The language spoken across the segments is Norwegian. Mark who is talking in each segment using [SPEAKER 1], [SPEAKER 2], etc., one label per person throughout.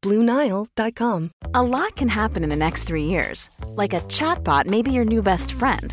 [SPEAKER 1] BlueNile.com.
[SPEAKER 2] A lot can happen in the next three years. Like a chatbot may be your new best friend.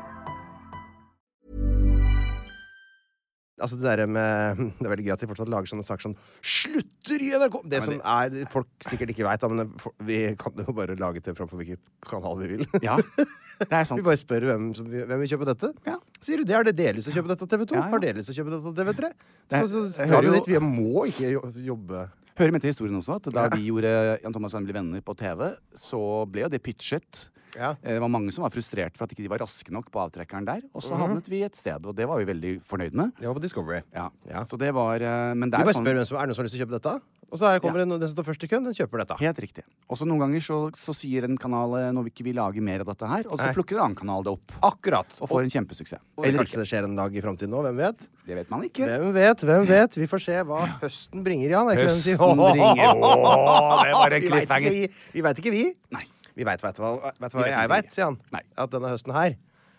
[SPEAKER 3] Altså det, der med, det er veldig gøy at de fortsatt lager sånne saker som 'Slutter i NRK!' Det som er, folk sikkert ikke veit, men det- for- vi kan jo bare lage TV-program på hvilket kanal vi vil.
[SPEAKER 4] Ja, det er
[SPEAKER 3] Vi
[SPEAKER 4] sant.
[SPEAKER 3] bare spør hvem som hvem vil kjøpe dette.
[SPEAKER 4] Ja.
[SPEAKER 3] Sier du det? Har dere lyst til å kjøpe dette av TV2?
[SPEAKER 4] Ja, ja.
[SPEAKER 3] Har dere lyst til å kjøpe dette av TV3?
[SPEAKER 4] Det er-
[SPEAKER 3] Så, så,
[SPEAKER 4] jeg
[SPEAKER 3] drar
[SPEAKER 4] hører
[SPEAKER 3] vi
[SPEAKER 4] jo-
[SPEAKER 3] dit. Vi må ikke jo- jobbe
[SPEAKER 4] Hører med til historien også at da vi gjorde Jan Thomas og jeg ble venner på TV, så ble jo det pitchet.
[SPEAKER 3] Ja.
[SPEAKER 4] Eh, Det var mange som var frustrert for at ikke de var raske nok på avtrekkeren der. Og
[SPEAKER 3] Mhm.
[SPEAKER 4] så havnet vi et sted, og det var vi veldig fornøyd med.
[SPEAKER 3] Det var på Discovery.
[SPEAKER 4] Ja.
[SPEAKER 3] Ja.
[SPEAKER 4] Så det var eh, Men det
[SPEAKER 3] Vi
[SPEAKER 4] er
[SPEAKER 3] bare
[SPEAKER 4] jo sånn
[SPEAKER 3] spør hvem som er det noen som har lyst til å kjøpe dette. Og så er- kommer det noen- den som står først i køen, den kjøper dette.
[SPEAKER 4] Helt riktig. Og så noen ganger så, så sier en kanal eh, nå vil ikke vi lage mer av dette her, og så
[SPEAKER 3] Nei.
[SPEAKER 4] plukker en annen kanal det opp.
[SPEAKER 3] Akkurat.
[SPEAKER 4] Og får en kjempesuksess.
[SPEAKER 3] Og
[SPEAKER 4] Eller
[SPEAKER 3] kanskje
[SPEAKER 4] ikke.
[SPEAKER 3] det skjer en dag i framtiden òg. Hvem vet?
[SPEAKER 4] Det vet man ikke.
[SPEAKER 3] Hvem vet, hvem vet? Vi får se hva høsten bringer, Jan. Er ikke det de sier?
[SPEAKER 4] Høsten bringer. Åh, det var en
[SPEAKER 3] Vi vet ikke,
[SPEAKER 4] cliffhanger.
[SPEAKER 3] Vi, vi veit ikke, vi.
[SPEAKER 4] Nei.
[SPEAKER 3] Vi veit vet hva, vet
[SPEAKER 4] Vi
[SPEAKER 3] hva
[SPEAKER 4] vet
[SPEAKER 3] jeg
[SPEAKER 4] ikke.
[SPEAKER 3] veit, sier han.
[SPEAKER 4] Nei.
[SPEAKER 3] At denne høsten her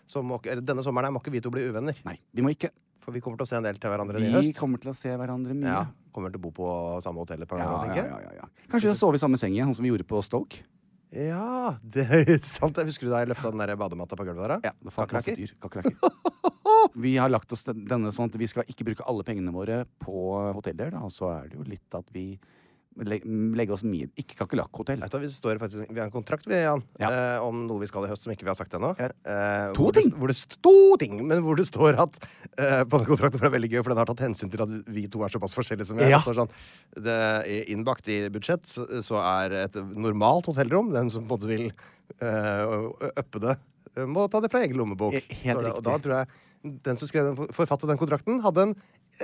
[SPEAKER 3] så må, ikke- eller denne sommeren her må ikke vi to bli uvenner.
[SPEAKER 4] Nei, vi må ikke.
[SPEAKER 3] For vi kommer til å se en del til hverandre i
[SPEAKER 4] Vi
[SPEAKER 3] høst.
[SPEAKER 4] kommer til å se hverandre mye.
[SPEAKER 3] Ja, kommer til å bo på samme hotell et par
[SPEAKER 4] Ja,
[SPEAKER 3] ganger,
[SPEAKER 4] ja,
[SPEAKER 3] tenker jeg.
[SPEAKER 4] ja, ja, ja. Kanskje vi har sovet i samme seng igjen, sånn som vi gjorde på Stoke.
[SPEAKER 3] Ja, det er sant. Jeg husker du da jeg løfta den der badematta på gulvet der? da?
[SPEAKER 4] Ja, det falt masse
[SPEAKER 3] Kakerlakker?
[SPEAKER 4] dyr. Kakerlakker. Vi har lagt oss den- denne sånn at vi skal ikke bruke alle pengene våre på hoteller. Da. Og så er det jo litt at vi le- legger oss mye Ikke kakerlakkhotell.
[SPEAKER 3] Vet du hva, Vi står faktisk Vi har en kontrakt, vi, Jan,
[SPEAKER 4] Ja.
[SPEAKER 3] eh, om noe vi skal i høst som ikke vi har sagt ennå. Eh,
[SPEAKER 4] To
[SPEAKER 3] hvor det-
[SPEAKER 4] ting.
[SPEAKER 3] Hvor det, st- to ting! Men hvor det står at eh, På den kontrakten for det er veldig gøy, for den har tatt hensyn til at vi to er såpass forskjellige som vi er.
[SPEAKER 4] Ja.
[SPEAKER 3] Det står sånn det er Innbakt i budsjett så, så er et normalt hotellrom Den som på en måte vil eh, øppe det, må ta det fra egen lommebok.
[SPEAKER 4] Eh, helt
[SPEAKER 3] Står det. Og
[SPEAKER 4] riktig.
[SPEAKER 3] da tror jeg den som skrev den, forfattet den kontrakten, hadde en,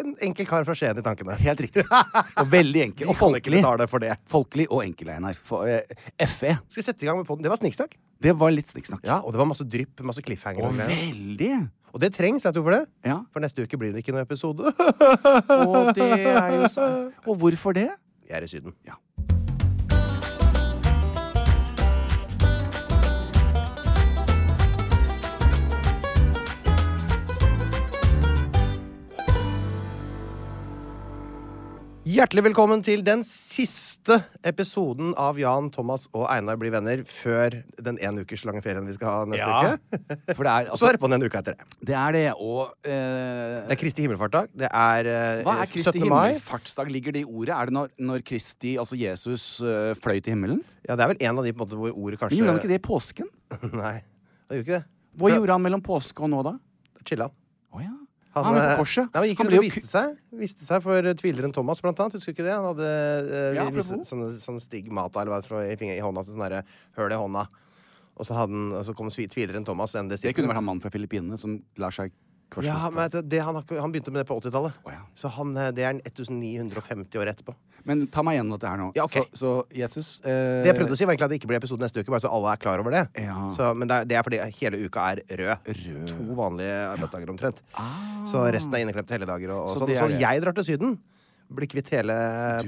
[SPEAKER 3] en enkel kar fra Skien i tankene.
[SPEAKER 4] Helt riktig. Og veldig
[SPEAKER 3] Vi
[SPEAKER 4] enkel. Og
[SPEAKER 3] kan ikke
[SPEAKER 4] folkelig.
[SPEAKER 3] betale for det.
[SPEAKER 4] Folkelig og enkel, Einar. For, eh, FE.
[SPEAKER 3] Skal vi sette i gang med podden? Det var sniksnakk.
[SPEAKER 4] Det var litt snikksnakk.
[SPEAKER 3] Ja, og det var masse drypp, masse cliffhanger.
[SPEAKER 4] Og
[SPEAKER 3] Og, greier.
[SPEAKER 4] veldig!
[SPEAKER 3] og det trengs, vet du hvorfor det?
[SPEAKER 4] Ja.
[SPEAKER 3] For neste uke blir det ikke noen episode.
[SPEAKER 4] Og det er jo så Og hvorfor det?
[SPEAKER 3] Jeg er i Syden.
[SPEAKER 4] Ja.
[SPEAKER 3] Hjertelig velkommen til den siste episoden av Jan, Thomas og Einar blir venner før den en ukers lange ferien vi skal ha neste
[SPEAKER 4] Ja.
[SPEAKER 3] uke.
[SPEAKER 4] For det er,
[SPEAKER 3] Og så
[SPEAKER 4] altså,
[SPEAKER 3] er det på'n en uke etter det.
[SPEAKER 4] det er det, og eh,
[SPEAKER 3] Det er Kristi himmelfartdag. Det er, eh,
[SPEAKER 4] Hva er Kristi
[SPEAKER 3] 17. mai.
[SPEAKER 4] himmelfartsdag? Ligger det i ordet? Er det når, når Kristi, altså Jesus, øh, fløy til himmelen?
[SPEAKER 3] Ja, det er vel en av de på en måte, hvor ordet
[SPEAKER 4] Men
[SPEAKER 3] kanskje
[SPEAKER 4] gjorde han ikke det i påsken?
[SPEAKER 3] Nei, han gjorde ikke det.
[SPEAKER 4] Hva gjorde han mellom påske og nå, da?
[SPEAKER 3] Chilla han.
[SPEAKER 4] Å ja. Han, er på korset.
[SPEAKER 3] eh, Nei, men gikk
[SPEAKER 4] han
[SPEAKER 3] rundt
[SPEAKER 4] ble
[SPEAKER 3] og
[SPEAKER 4] jo
[SPEAKER 3] viste
[SPEAKER 4] ku-
[SPEAKER 3] seg, viste seg for eh, tvileren Thomas, blant annet. Husker du ikke det? Han hadde eh,
[SPEAKER 4] Ja,
[SPEAKER 3] visse-
[SPEAKER 4] apropos.
[SPEAKER 3] sånne, sånne stigmata eller hva det er for noe i, finger, i hånda. Sånn derre høl i hånda. Og så, hadde han, og så kom svi- tvileren Thomas. endte
[SPEAKER 4] Det
[SPEAKER 3] stikken.
[SPEAKER 4] kunne vært han mannen fra Filippinene som lar seg korsfeste.
[SPEAKER 3] ja, men vet du, det, han, har ikke- han begynte med det på 80-tallet.
[SPEAKER 4] Å, ja.
[SPEAKER 3] Så han, eh, det er en 1950 år etterpå.
[SPEAKER 4] Men ta meg gjennom dette her nå.
[SPEAKER 3] Ja, ok.
[SPEAKER 4] så, så Jesus eh,
[SPEAKER 3] Det jeg prøvde å si, var egentlig at det ikke blir episode neste uke. Bare så alle er klar over det.
[SPEAKER 4] Ja.
[SPEAKER 3] Så, men det er, det er fordi hele uka er rød. To vanlige arbeidsdager omtrent. Så resten er inneklemt til helligdager. Og, og
[SPEAKER 4] Ah. Så
[SPEAKER 3] sånn.
[SPEAKER 4] det er
[SPEAKER 3] så
[SPEAKER 4] det.
[SPEAKER 3] jeg drar til Syden. bli kvitt hele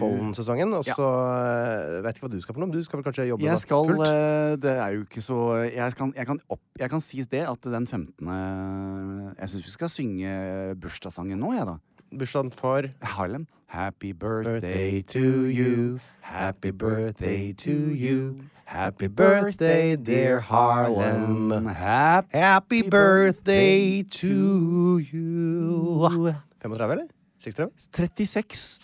[SPEAKER 3] pollensesongen. Og
[SPEAKER 4] Ja.
[SPEAKER 3] så eh, vet ikke hva du skal for noe. men Du skal vel kanskje jobbe da
[SPEAKER 4] Jeg skal
[SPEAKER 3] fullt?
[SPEAKER 4] eh, Det er jo ikke så Jeg kan, jeg kan, opp, jeg kan si det at den 15. Jeg syns vi skal synge bursdagssangen nå, jeg, da.
[SPEAKER 3] Bursdagen for
[SPEAKER 4] Harlem. Happy birthday to you. Happy birthday to you. Happy birthday, dear Harlem. Happy,
[SPEAKER 3] Happy birthday to you 35, eller? 36?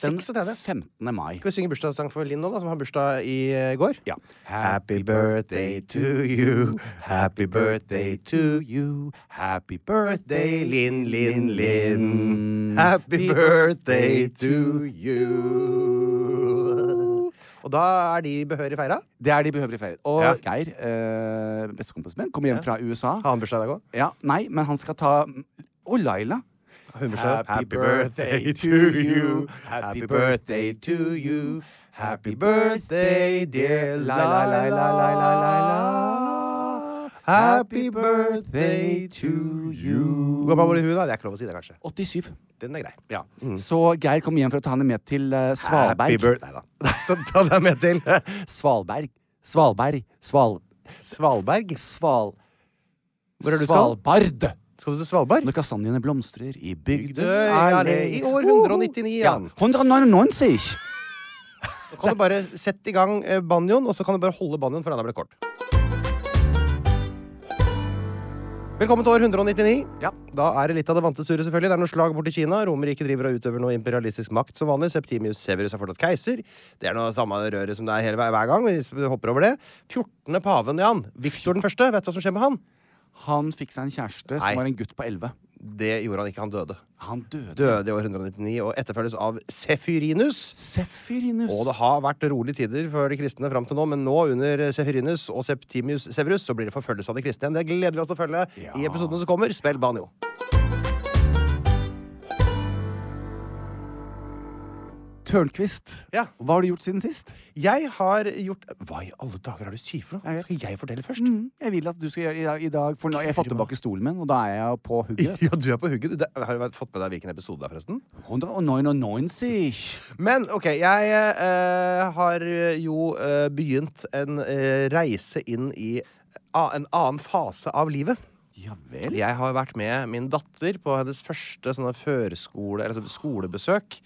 [SPEAKER 4] 36 den
[SPEAKER 3] 36.
[SPEAKER 4] 15. mai.
[SPEAKER 3] Skal vi synge bursdagssang for Linn nå, da, som har bursdag i eh, går?
[SPEAKER 4] Ja. Happy birthday to you. Happy birthday to you. Happy birthday, Linn, Linn, Linn.
[SPEAKER 3] Happy birthday to you. Og da er de behørig feira.
[SPEAKER 4] Det er de behøver i ferie. Og
[SPEAKER 3] Ja.
[SPEAKER 4] Geir, eh, bestekompisen min, kommer hjem fra USA.
[SPEAKER 3] Har han bursdag i dag òg?
[SPEAKER 4] Ja, nei, men han skal ta Og Laila.
[SPEAKER 3] Hun bursdag. Hvor gammel var hun da? Det er ikke lov å si det, kanskje.
[SPEAKER 4] 87.
[SPEAKER 3] Den er grei.
[SPEAKER 4] Ja. Så Geir kommer hjem for å ta henne med til eh,
[SPEAKER 3] Happy
[SPEAKER 4] Svalberg.
[SPEAKER 3] birth- Nei da. Ta, ta deg med til
[SPEAKER 4] Svalberg. Svalberg. Sval...
[SPEAKER 3] Svalberg.
[SPEAKER 4] Sval...
[SPEAKER 3] Hvor er du skal?
[SPEAKER 4] Svalbard!
[SPEAKER 3] Skal du til Svalbard?
[SPEAKER 4] Når kastanjene blomstrer i
[SPEAKER 3] Bygdøy
[SPEAKER 4] Bygdøy
[SPEAKER 3] allé i år 199,
[SPEAKER 4] Ja.
[SPEAKER 3] Jan.
[SPEAKER 4] 199.
[SPEAKER 3] Nå kan du bare sette i gang eh, banjoen, og så kan du bare holde banjoen, for den er blitt kort. Velkommen til år 199.
[SPEAKER 4] Ja.
[SPEAKER 3] Da er det litt av det vante surret, selvfølgelig. Det er noe slag borti Kina. Romerriket driver og utøver noe imperialistisk makt som vanlig. Septimius Severus er fortsatt keiser. Det er noe samme røret som det er hele hver, hver gang. Vi hopper over det. 14. paven, Jan. Viktor den første. Vet du hva som skjer med han?
[SPEAKER 4] Han fikk seg en kjæreste
[SPEAKER 3] Nei.
[SPEAKER 4] som var en gutt på 11.
[SPEAKER 3] Det gjorde han ikke. Han døde.
[SPEAKER 4] Han døde.
[SPEAKER 3] Døde i år 199 og etterfølges av Sefyrinus.
[SPEAKER 4] Sefyrinus.
[SPEAKER 3] Og det har vært rolige tider for de kristne fram til nå, men nå under Seferinus og Septimius Severus så blir det forfølgelse av de kristne. igjen. Det gleder vi oss til å følge i episodene som kommer. Spill banjo.
[SPEAKER 4] Tørnquist,
[SPEAKER 3] Ja.
[SPEAKER 4] hva har du gjort siden sist?
[SPEAKER 3] Jeg har gjort Hva i alle dager er det du sier for noe?
[SPEAKER 4] Jeg vet.
[SPEAKER 3] Skal jeg fortelle først?
[SPEAKER 4] Mm, jeg vil at du skal gjøre i dag, i dag for nå, jeg fått tilbake stolen min, og da er jeg på hugget.
[SPEAKER 3] Ja, du er på hugget. Du, det, har du fått med deg hvilken episode det er, forresten?
[SPEAKER 4] 199.
[SPEAKER 3] Men OK, jeg eh, har jo eh, begynt en eh, reise inn i a- en annen fase av livet.
[SPEAKER 4] Ja vel.
[SPEAKER 3] Jeg har vært med min datter på hennes første sånne førskole, eller sånn skolebesøk.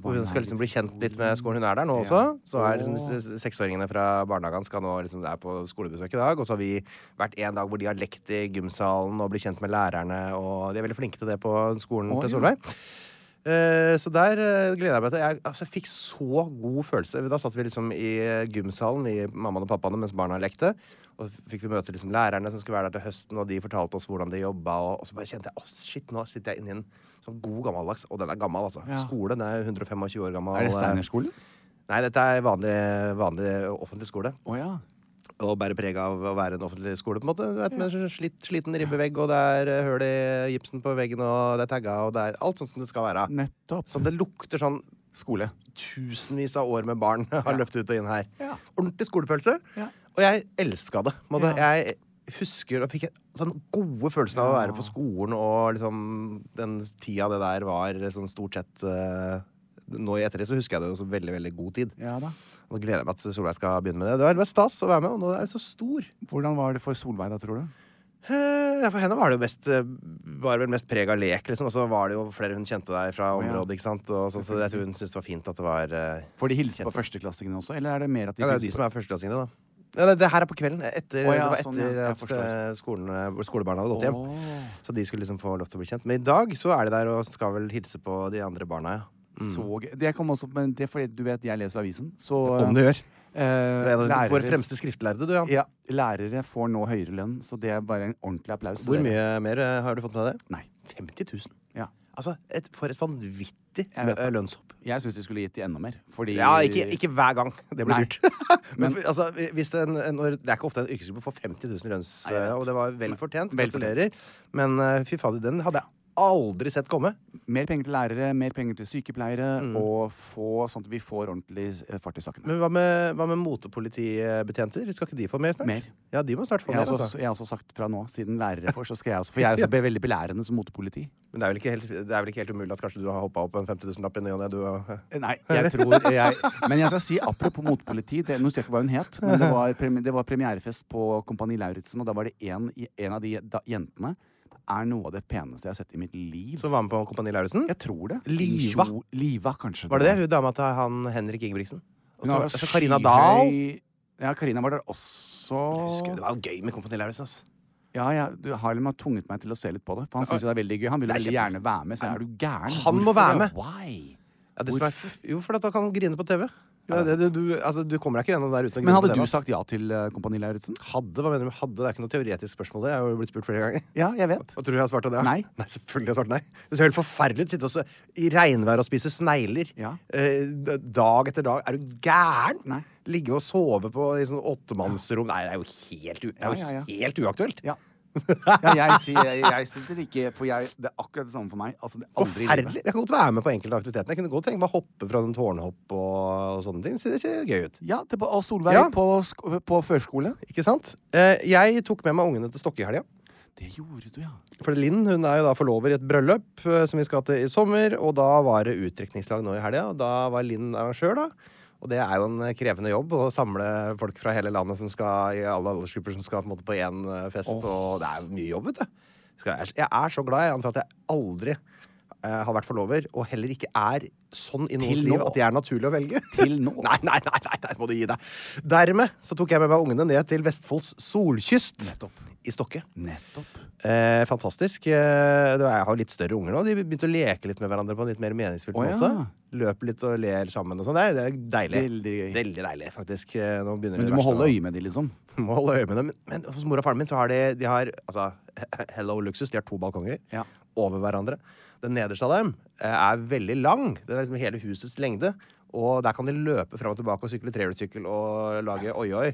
[SPEAKER 3] Hvor hun skal liksom bli kjent litt med skolen. Hun er der nå også. Så er liksom s- s- Seksåringene fra barnehagen skal nå liksom er på skolebesøk i dag. Og så har vi vært en dag hvor de har lekt i gymsalen og blir kjent med lærerne. Og de er veldig flinke til det på skolen
[SPEAKER 4] Å,
[SPEAKER 3] til
[SPEAKER 4] ja.
[SPEAKER 3] Solveig. Eh, Så der eh, gleder jeg meg til. Jeg altså, jeg fikk så god følelse. Da satt vi liksom i eh, gymsalen, vi mammaen og pappaene, mens barna lekte. Og f- fikk vi møte liksom lærerne som skulle være der til høsten, og de fortalte oss hvordan de jobba. Og, og så bare kjente jeg åh, shit, nå sitter jeg inni en sånn god gammeldags Og den er gammel, altså.
[SPEAKER 4] Ja.
[SPEAKER 3] Skole. Den er 125 år gammel.
[SPEAKER 4] Er det
[SPEAKER 3] eh,
[SPEAKER 4] Steinerskolen?
[SPEAKER 3] Nei, dette er vanlig, vanlig offentlig skole
[SPEAKER 4] Å ja.
[SPEAKER 3] og bærer preg av å være en offentlig skole. på en måte Du vet, med en slitt, Sliten ribbevegg, og det er eh, høl i gipsen på veggen, og det er tagga, og det er alt sånn som det skal være.
[SPEAKER 4] Nettopp.
[SPEAKER 3] Så det lukter sånn
[SPEAKER 4] Skole.
[SPEAKER 3] tusenvis av år med barn har løpt ut og inn her.
[SPEAKER 4] Ja.
[SPEAKER 3] Ordentlig skolefølelse.
[SPEAKER 4] Ja.
[SPEAKER 3] Og jeg elska det. på en måte.
[SPEAKER 4] Ja.
[SPEAKER 3] Jeg husker og fikk en sånn gode følelsen av å være på skolen og liksom den tida det der var sånn stort sett eh, Nå i ettertid så husker jeg det som veldig, veldig god tid.
[SPEAKER 4] Ja da.
[SPEAKER 3] Og Nå gleder jeg meg til Solveig skal begynne med det. Det var veldig stas å være med, og nå er jeg så stor.
[SPEAKER 4] Hvordan var det for Solveig da, tror du?
[SPEAKER 3] Eh, ja, For henne var det jo mest eh, Var vel mest preg av lek, liksom. Og så var det jo flere hun kjente deg fra
[SPEAKER 4] ja.
[SPEAKER 3] området, ikke sant. Og så, så jeg tror hun syntes det var fint at det var eh,
[SPEAKER 4] Får de hilse på førsteklassingene også, eller er det mer at de
[SPEAKER 3] Ja, det er jo de som er førsteklassingene, da. Ja, det, det her er på kvelden. Etter,
[SPEAKER 4] Å, ja,
[SPEAKER 3] det var
[SPEAKER 4] sånn,
[SPEAKER 3] etter
[SPEAKER 4] ja. Jeg
[SPEAKER 3] at
[SPEAKER 4] forstår.
[SPEAKER 3] eh, skolen, eh, skolebarna hadde gått hjem.
[SPEAKER 4] Åh.
[SPEAKER 3] Så de skulle liksom få lov til å bli kjent. Men i dag så er de der og skal vel hilse på de andre barna, ja.
[SPEAKER 4] Så gøy. Det kom også, men det er fordi du vet, jeg leser avisen. Så
[SPEAKER 3] Mm. Om du gjør.
[SPEAKER 4] eh,
[SPEAKER 3] Du er en av de- våre
[SPEAKER 4] lærere-
[SPEAKER 3] fremste skriftlærde, du, Jan.
[SPEAKER 4] ja, lærere får nå høyere lønn, så det er bare en ordentlig applaus. til
[SPEAKER 3] Hvor
[SPEAKER 4] dere.
[SPEAKER 3] mye mer eh, har du fått med deg?
[SPEAKER 4] Nei.
[SPEAKER 3] 50 000.
[SPEAKER 4] Ja.
[SPEAKER 3] Altså, et, for et vanvittig
[SPEAKER 4] Jeg vet
[SPEAKER 3] eh, lønnshopp.
[SPEAKER 4] Jeg syns de skulle gitt de enda mer. Fordi
[SPEAKER 3] Ja, ikke, ikke hver gang. Det blir
[SPEAKER 4] Nei.
[SPEAKER 3] dyrt. Men
[SPEAKER 4] Men-
[SPEAKER 3] for- altså, hvis en, en, når- det er ikke ofte en yrkesgruppe får 50 000 i lønns,
[SPEAKER 4] Nei, jeg vet.
[SPEAKER 3] og det var vel fortjent.
[SPEAKER 4] Vel
[SPEAKER 3] Gratulerer. Men eh, fy fader, den hadde jeg aldri sett komme.
[SPEAKER 4] Mer penger til lærere, mer penger til sykepleiere, og få, sånn at vi får ordentlig eh, fart i sakene.
[SPEAKER 3] Mm. Men hva med, hva med motepolitibetjenter? Skal ikke de få mer snart?
[SPEAKER 4] Mer.
[SPEAKER 3] Ja, de må snart få
[SPEAKER 4] Jeg har,
[SPEAKER 3] mer.
[SPEAKER 4] også,
[SPEAKER 3] Altså.
[SPEAKER 4] jeg har også sagt fra nå, siden lærere får, så skal jeg også For jeg er også be- veldig belærende som motepoliti.
[SPEAKER 3] Men det er, vel ikke helt, det er vel ikke helt umulig at kanskje du har hoppa opp en 5000-lapp i ny og ne? du og-
[SPEAKER 4] Eh, Nei, jeg tror jeg, Men jeg skal si apropos motepoliti. Det, nå husker jeg ikke hva hun het, men det var, premi- det var premierefest på Kompani Lauritzen, og da var det en, i- en av de da, jentene Det er noe av det peneste jeg har sett i mitt liv.
[SPEAKER 3] Som var med på Kompani Lauritzen?
[SPEAKER 4] Jeg tror det.
[SPEAKER 3] Liva.
[SPEAKER 4] I kjo- Liva, kanskje.
[SPEAKER 3] Var det det? Hun dama til han Henrik Ingebrigtsen? Og
[SPEAKER 4] Hun
[SPEAKER 3] så
[SPEAKER 4] var
[SPEAKER 3] og så Karina
[SPEAKER 4] skyhøy-
[SPEAKER 3] Dahl?
[SPEAKER 4] Ja, Karina var der også.
[SPEAKER 3] Jeg Husker, det var jo gøy med Kompani Lauritzen, ass.
[SPEAKER 4] Ja, ja, du, Harlem har tvunget meg til å se litt på det. For han syns jo det er veldig gøy. Han vil jo
[SPEAKER 3] Det er
[SPEAKER 4] veldig gjerne være med. Så er du gæren?
[SPEAKER 3] Han må være med.
[SPEAKER 4] det? Why?
[SPEAKER 3] Ja, det som er, jo, for at da kan han grine på TV. Ja, det, du, du, altså, du kommer deg ikke gjennom der uten å grine
[SPEAKER 4] Men hadde
[SPEAKER 3] på altså. TV.
[SPEAKER 4] du
[SPEAKER 3] ass.
[SPEAKER 4] sagt ja til eh, Kompani Lauritzen?
[SPEAKER 3] Hadde, hva mener du med hadde? Det er ikke noe teoretisk spørsmål. Det. Jeg har jo blitt spurt flere ganger.
[SPEAKER 4] Ja, jeg vet.
[SPEAKER 3] Hva tror du jeg har svart på det?
[SPEAKER 4] Nei.
[SPEAKER 3] nei selvfølgelig har jeg svart nei. Det ser helt forferdelig ut. Sitte og så- i regnvær og spise snegler.
[SPEAKER 4] Ja.
[SPEAKER 3] Eh, d- dag etter dag. Er du gæren?
[SPEAKER 4] Nei.
[SPEAKER 3] Ligge og sove på i sånn åttemannsrom. Nei, det er jo helt, u det er jo
[SPEAKER 4] Ja, ja, ja.
[SPEAKER 3] helt uaktuelt.
[SPEAKER 4] Ja. ja jeg, sier, jeg, jeg sitter ikke For jeg, det er akkurat det samme for meg. Altså, det er aldri i livet.
[SPEAKER 3] Forferdelig. Jeg kan godt være med på enkelte aktiviteter. Jeg kunne godt tenke meg å hoppe fra noen tårnhopp og, og sånne ting. Så det ser gøy ut.
[SPEAKER 4] Ja, til, og Solveig
[SPEAKER 3] Ja.
[SPEAKER 4] på, sk- på førskole.
[SPEAKER 3] Ikke sant? Eh, jeg tok med meg ungene til Stokke i helga.
[SPEAKER 4] Det gjorde du, ja.
[SPEAKER 3] For Linn hun er jo da forlover i et bryllup eh, som vi skal til i sommer. Og da var det utdrikningslag nå i helga, og da var Linn arrangør, da. Og det er jo en eh, krevende jobb å samle folk fra hele landet som skal, i alle aldersgrupper som skal på en måte på én eh, fest. Og det er jo mye jobb, vet du. Skal jeg- Jeg er så glad jeg, for at jeg aldri eh, har vært forlover, og heller ikke er sånn i noens
[SPEAKER 4] Til
[SPEAKER 3] liv
[SPEAKER 4] nå.
[SPEAKER 3] at det er naturlig å velge.
[SPEAKER 4] Til nå.
[SPEAKER 3] Nei, nei, nei, nei, der må du gi deg. Dermed så tok jeg med meg ungene ned til Vestfolds solkyst i Stokke.
[SPEAKER 4] Nettopp.
[SPEAKER 3] Eh, fantastisk. Eh, det var- jeg har litt større unger nå. De begynte å leke litt med hverandre på en litt mer meningsfull
[SPEAKER 4] Å, ja.
[SPEAKER 3] måte. Løper litt og ler sammen og sånn. Det, er- det er deilig.
[SPEAKER 4] Veldig gøy.
[SPEAKER 3] Veldig deilig, faktisk. Eh, Nå begynner
[SPEAKER 4] Men
[SPEAKER 3] det
[SPEAKER 4] du må
[SPEAKER 3] verste
[SPEAKER 4] holde
[SPEAKER 3] nå.
[SPEAKER 4] øye med de, liksom.
[SPEAKER 3] Må holde øye med dem. Men hos mor og faren min så har de, de har, altså, Hello Luxus. De har to balkonger
[SPEAKER 4] Ja.
[SPEAKER 3] over hverandre. Den nederste av dem eh, er veldig lang. Det er liksom hele husets lengde. Og der kan de løpe fram og tilbake og sykle trehjulssykkel og lage oi-oi.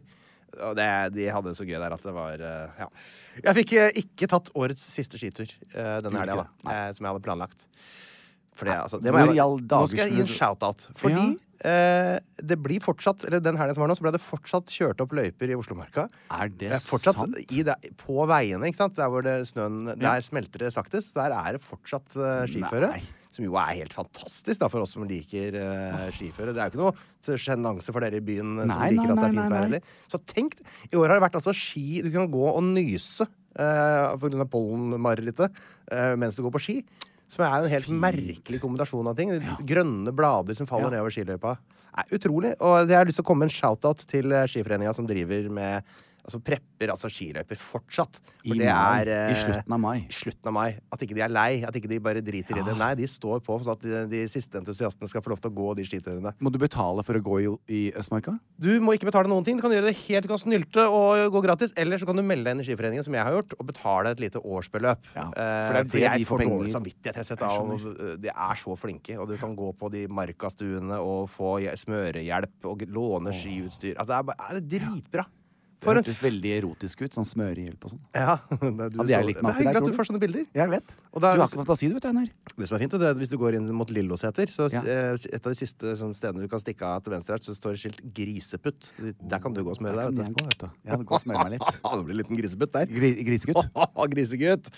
[SPEAKER 3] Og det, de hadde det så gøy der at det var eh, Ja. Jeg fikk eh, ikke tatt årets siste skitur eh, denne
[SPEAKER 4] Gjorde
[SPEAKER 3] helga,
[SPEAKER 4] ikke
[SPEAKER 3] da. eh, Som jeg hadde planlagt. For det, altså, det
[SPEAKER 4] Hvor
[SPEAKER 3] jeg-
[SPEAKER 4] i all
[SPEAKER 3] Nå skal jeg gi
[SPEAKER 4] dager
[SPEAKER 3] en shout-out. Fordi eh, det blir fortsatt Eller den helga som var nå, så ble det fortsatt kjørt opp løyper i Oslomarka.
[SPEAKER 4] Er det
[SPEAKER 3] Det er fortsatt
[SPEAKER 4] sant?
[SPEAKER 3] i det, på veiene, ikke sant? Der hvor det snøen Der smelter det saktest. Der er det fortsatt eh, skiføre.
[SPEAKER 4] Nei.
[SPEAKER 3] Som jo er helt fantastisk da, for oss som liker eh, skiføre. Det er jo ikke noe til sjenanse for dere i byen eh, som
[SPEAKER 4] Nei,
[SPEAKER 3] liker at
[SPEAKER 4] nei,
[SPEAKER 3] det er
[SPEAKER 4] nei, nei,
[SPEAKER 3] fint vær
[SPEAKER 4] nei.
[SPEAKER 3] heller. Så tenk, i år har det vært altså ski Du kan gå og nyse eh, på grunn av pollenmarerittet eh, mens du går på ski. Som er en helt merkelig kombinasjon av ting. Grønne blader som faller
[SPEAKER 4] Ja.
[SPEAKER 3] nedover skiløypa. Nei, utrolig. Og jeg har lyst til å komme med en shout-out til eh, Skiforeninga som driver med altså prepper altså skiløyper fortsatt. For
[SPEAKER 4] I
[SPEAKER 3] det
[SPEAKER 4] mai.
[SPEAKER 3] er eh,
[SPEAKER 4] I slutten av mai. Ah.
[SPEAKER 3] i slutten av mai. At ikke de er lei. At ikke de bare driter i det. Nei, de står på sånn at de, de siste entusiastene skal få lov til å gå de skiturene.
[SPEAKER 4] Må du betale for å gå i, i Østmarka?
[SPEAKER 3] Du må ikke betale noen ting. Du kan gjøre det helt du kan snylte og gå gratis. Eller så kan du melde deg inn i Skiforeningen, som jeg har gjort, og betale et lite årsbeløp.
[SPEAKER 4] Ja, for
[SPEAKER 3] Eh,
[SPEAKER 4] det er det
[SPEAKER 3] fordi jeg
[SPEAKER 4] de får
[SPEAKER 3] får
[SPEAKER 4] penger-
[SPEAKER 3] dårlig samvittighet. rett og slett, av- eh, De er så flinke, og du kan gå på de markastuene og få hj- smørehjelp og g- låne skiutstyr. Altså, det er, bare, er det dritbra.
[SPEAKER 4] Det
[SPEAKER 3] For en
[SPEAKER 4] hørtes veldig erotisk ut. Sånn smørehjelp og sånn.
[SPEAKER 3] ja, det, du,
[SPEAKER 4] Hadde
[SPEAKER 3] så,
[SPEAKER 4] jeg
[SPEAKER 3] det
[SPEAKER 4] likt
[SPEAKER 3] er
[SPEAKER 4] meg oppi der,
[SPEAKER 3] hyggelig at
[SPEAKER 4] tror
[SPEAKER 3] du
[SPEAKER 4] du?
[SPEAKER 3] får sånne bilder.
[SPEAKER 4] Jeg vet.
[SPEAKER 3] Og da-
[SPEAKER 4] du har ikke fantasi, du vet, Einar.
[SPEAKER 3] Det som er fint, det er at hvis du går inn mot Lillåseter, så
[SPEAKER 4] Ja.
[SPEAKER 3] eh, et av de siste sånn, stedene du kan stikke av til venstre her, så står det skilt 'griseputt'. Der kan du gå og smøre
[SPEAKER 4] Der
[SPEAKER 3] deg.
[SPEAKER 4] kan jeg gå, vet du. Jeg hadde gått og smøre meg litt.
[SPEAKER 3] det blir en liten griseputt der.
[SPEAKER 4] Gri, grisegutt.
[SPEAKER 3] Grisegutt.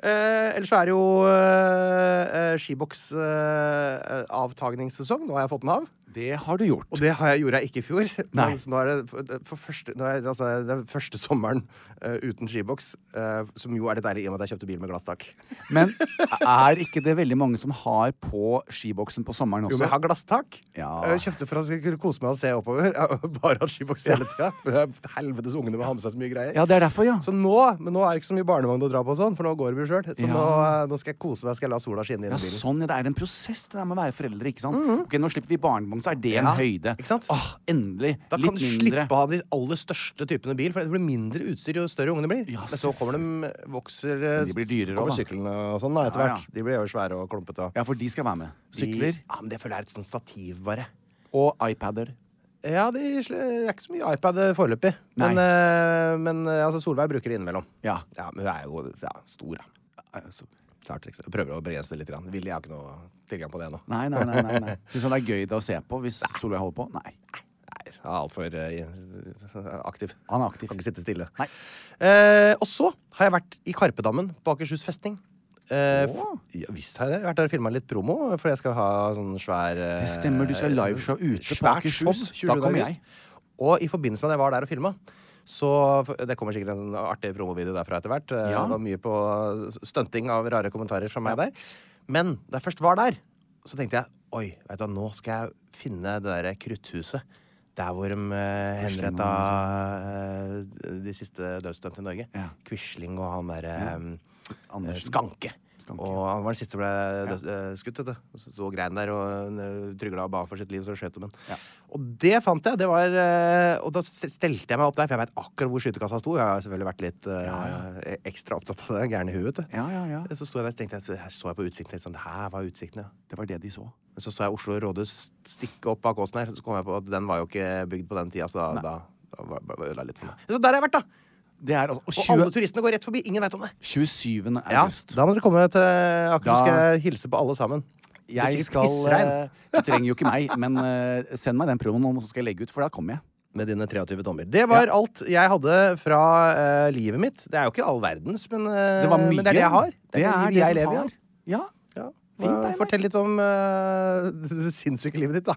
[SPEAKER 3] Eh, ellers så er det jo eh, eh, skiboks-avtagningssesong. Nå har jeg fått den av.
[SPEAKER 4] Det har du gjort.
[SPEAKER 3] Og det har jeg, gjorde jeg ikke i fjor.
[SPEAKER 4] Nei.
[SPEAKER 3] Men så nå er det for, for første, nå er det, altså, den første sommeren eh, uten skiboks, eh, som jo er litt deilig i og med at jeg kjøpte bil med glasstak.
[SPEAKER 4] Men er ikke det veldig mange som har på skiboksen på sommeren
[SPEAKER 3] Jo,
[SPEAKER 4] også?
[SPEAKER 3] men jeg har glasstak. Eh,
[SPEAKER 4] Ja.
[SPEAKER 3] Jeg kjøpte for at jeg skulle kose meg og se oppover. Jeg har Bare hatt skiboks hele tida. For jeg- Helvetes ungene må ha med seg så mye greier.
[SPEAKER 4] Ja, det er derfor, ja.
[SPEAKER 3] Så nå, Men nå er det ikke så mye barnevogn å dra på, og sånn, for nå går vi sjøl. Så
[SPEAKER 4] Ja.
[SPEAKER 3] nå, eh, nå skal jeg kose meg. Skal jeg la sola skinne inn i
[SPEAKER 4] Ja,
[SPEAKER 3] bilen.
[SPEAKER 4] sånn, ja, Det er en prosess det der med å være foreldre. ikke sant? Ok, Nå slipper vi barnevogn, så er det en
[SPEAKER 3] Mhm. Ja,
[SPEAKER 4] høyde.
[SPEAKER 3] ikke sant?
[SPEAKER 4] Åh, endelig.
[SPEAKER 3] Da
[SPEAKER 4] litt
[SPEAKER 3] kan du
[SPEAKER 4] mindre.
[SPEAKER 3] slippe å ha de aller største typene bil, for det blir mindre utstyr jo større ungene blir.
[SPEAKER 4] Ja,
[SPEAKER 3] Men så kommer de vokser eh,
[SPEAKER 4] Men de blir dyrere
[SPEAKER 3] kommer
[SPEAKER 4] også, da.
[SPEAKER 3] syklene og sånn da, etter
[SPEAKER 4] Ja,
[SPEAKER 3] hvert. De blir jo svære og klumpete. og-
[SPEAKER 4] Ja, for de skal være med.
[SPEAKER 3] De-
[SPEAKER 4] Sykler
[SPEAKER 3] Ja, men det føler jeg er et sånt stativ, bare.
[SPEAKER 4] og iPader.
[SPEAKER 3] Ja, de, sl- det er ikke så mye iPad foreløpig. Men, eh, men eh, altså, Solveig bruker det innimellom.
[SPEAKER 4] Ja.
[SPEAKER 3] Ja, men hun er jo ja, stor, da.
[SPEAKER 4] Altså,
[SPEAKER 3] Snart seks år. Jeg Prøver å begrense det litt. grann. Willy har ikke noe tilgang på det ennå.
[SPEAKER 4] Nei, nei, nei. nei, nei. Syns han det er gøy det å se på hvis Solveig holder på? Nei.
[SPEAKER 3] Nei, han er altfor uh, aktiv.
[SPEAKER 4] Han er aktiv.
[SPEAKER 3] Kan ikke sitte stille.
[SPEAKER 4] Nei.
[SPEAKER 3] Eh, og så har jeg vært i Karpedammen på Akershus festning. Eh,
[SPEAKER 4] Åh.
[SPEAKER 3] ja, visst har jeg det. Jeg har vært der og filma litt promo, fordi jeg skal ha sånn svær eh,
[SPEAKER 4] Det stemmer, du skal ha liveshow ute på
[SPEAKER 3] svært
[SPEAKER 4] Akershus.
[SPEAKER 3] show,
[SPEAKER 4] Da
[SPEAKER 3] 20.
[SPEAKER 4] kommer
[SPEAKER 3] august.
[SPEAKER 4] jeg.
[SPEAKER 3] Og i forbindelse med at jeg var der og filma, så Det kommer sikkert en artig promovideo derfra etter hvert. Eh,
[SPEAKER 4] Ja.
[SPEAKER 3] Det var mye på stunting av rare kommentarer fra meg der. Men da jeg først var der, så tenkte jeg oi, vet du, hva, nå skal jeg finne det derre krutthuset. Der hvor de eh, henretta eh, de siste dødsdømte i Norge.
[SPEAKER 4] sånn. Ja.
[SPEAKER 3] Quisling og han derre eh,
[SPEAKER 4] Andersen.
[SPEAKER 3] Skanke.
[SPEAKER 4] Skanke.
[SPEAKER 3] Og han var den siste som ble død, eh, skutt. Vet du. Så, så grein der og eh, trygla og ba for sitt liv, så skjøt de ham. Og det fant jeg. Det var, eh, og da st- stelte jeg meg opp der, for jeg veit akkurat hvor skytekassa sto. Jeg har selvfølgelig vært litt eh, ekstra opptatt av det gærne huet. vet du. Eh,
[SPEAKER 4] Ja, ja, ja.
[SPEAKER 3] Så sto jeg der og tenkte jeg, så her så jeg på utsikten. tenkte Sånn, det her var utsikten, ja.
[SPEAKER 4] Det var det de så.
[SPEAKER 3] Men så så jeg Oslo rådhus stikke opp bak åsen her, så kom jeg på at den var jo ikke bygd på den tida, så da, da, da var- var- var ødela litt for meg. Så der har jeg vært, da!
[SPEAKER 4] Det er altså
[SPEAKER 3] Og
[SPEAKER 4] og
[SPEAKER 3] alle turistene går rett forbi. Ingen veit om det.
[SPEAKER 4] 20, 27.
[SPEAKER 3] Ja,
[SPEAKER 4] august.
[SPEAKER 3] da må dere komme til Akershus.
[SPEAKER 4] Da-
[SPEAKER 3] Skal jeg hilse på alle sammen. Det er sikkert
[SPEAKER 4] Jeg skal
[SPEAKER 3] pissregn.
[SPEAKER 4] eh, Du trenger jo ikke meg, men eh, send meg den promoen, og så skal jeg legge ut, for da kommer jeg.
[SPEAKER 3] Med dine 23 tommer. Det var alt jeg hadde fra eh, livet mitt. Det er jo ikke all verdens, men, eh,
[SPEAKER 4] Det var mye.
[SPEAKER 3] men det er det jeg har.
[SPEAKER 4] Det er
[SPEAKER 3] livet
[SPEAKER 4] det
[SPEAKER 3] jeg
[SPEAKER 4] du
[SPEAKER 3] lever i.
[SPEAKER 4] har.
[SPEAKER 3] da.
[SPEAKER 4] Ja.
[SPEAKER 3] Ja.
[SPEAKER 4] Fint,
[SPEAKER 3] Eh,
[SPEAKER 4] Einar.
[SPEAKER 3] Fortell litt om eh, det sinnssyke livet ditt, da.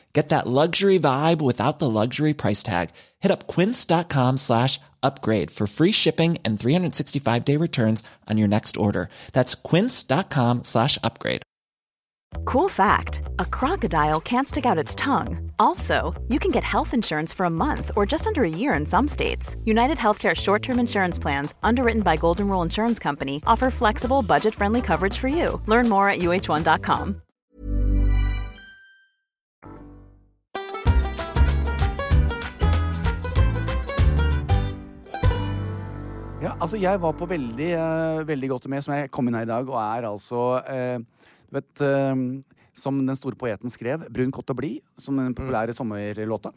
[SPEAKER 5] Get that luxury vibe without the luxury price tag. Hit up quince.com slash upgrade for free shipping and 365 day returns on your next order. That's quince.com slash upgrade.
[SPEAKER 2] Cool fact a crocodile can't stick out its tongue. Also, you can get health insurance for a month or just under a year in some states. United Healthcare short term insurance plans, underwritten by Golden Rule Insurance Company, offer flexible, budget friendly coverage for you. Learn more at uh1.com.
[SPEAKER 4] Ja, altså jeg var på veldig, eh, veldig godt humør som jeg kom inn her i dag, og er altså eh, Du vet eh, Som den store poeten skrev, 'Brun, kott og blid', som den
[SPEAKER 3] Mm.
[SPEAKER 4] populære sommerlåta.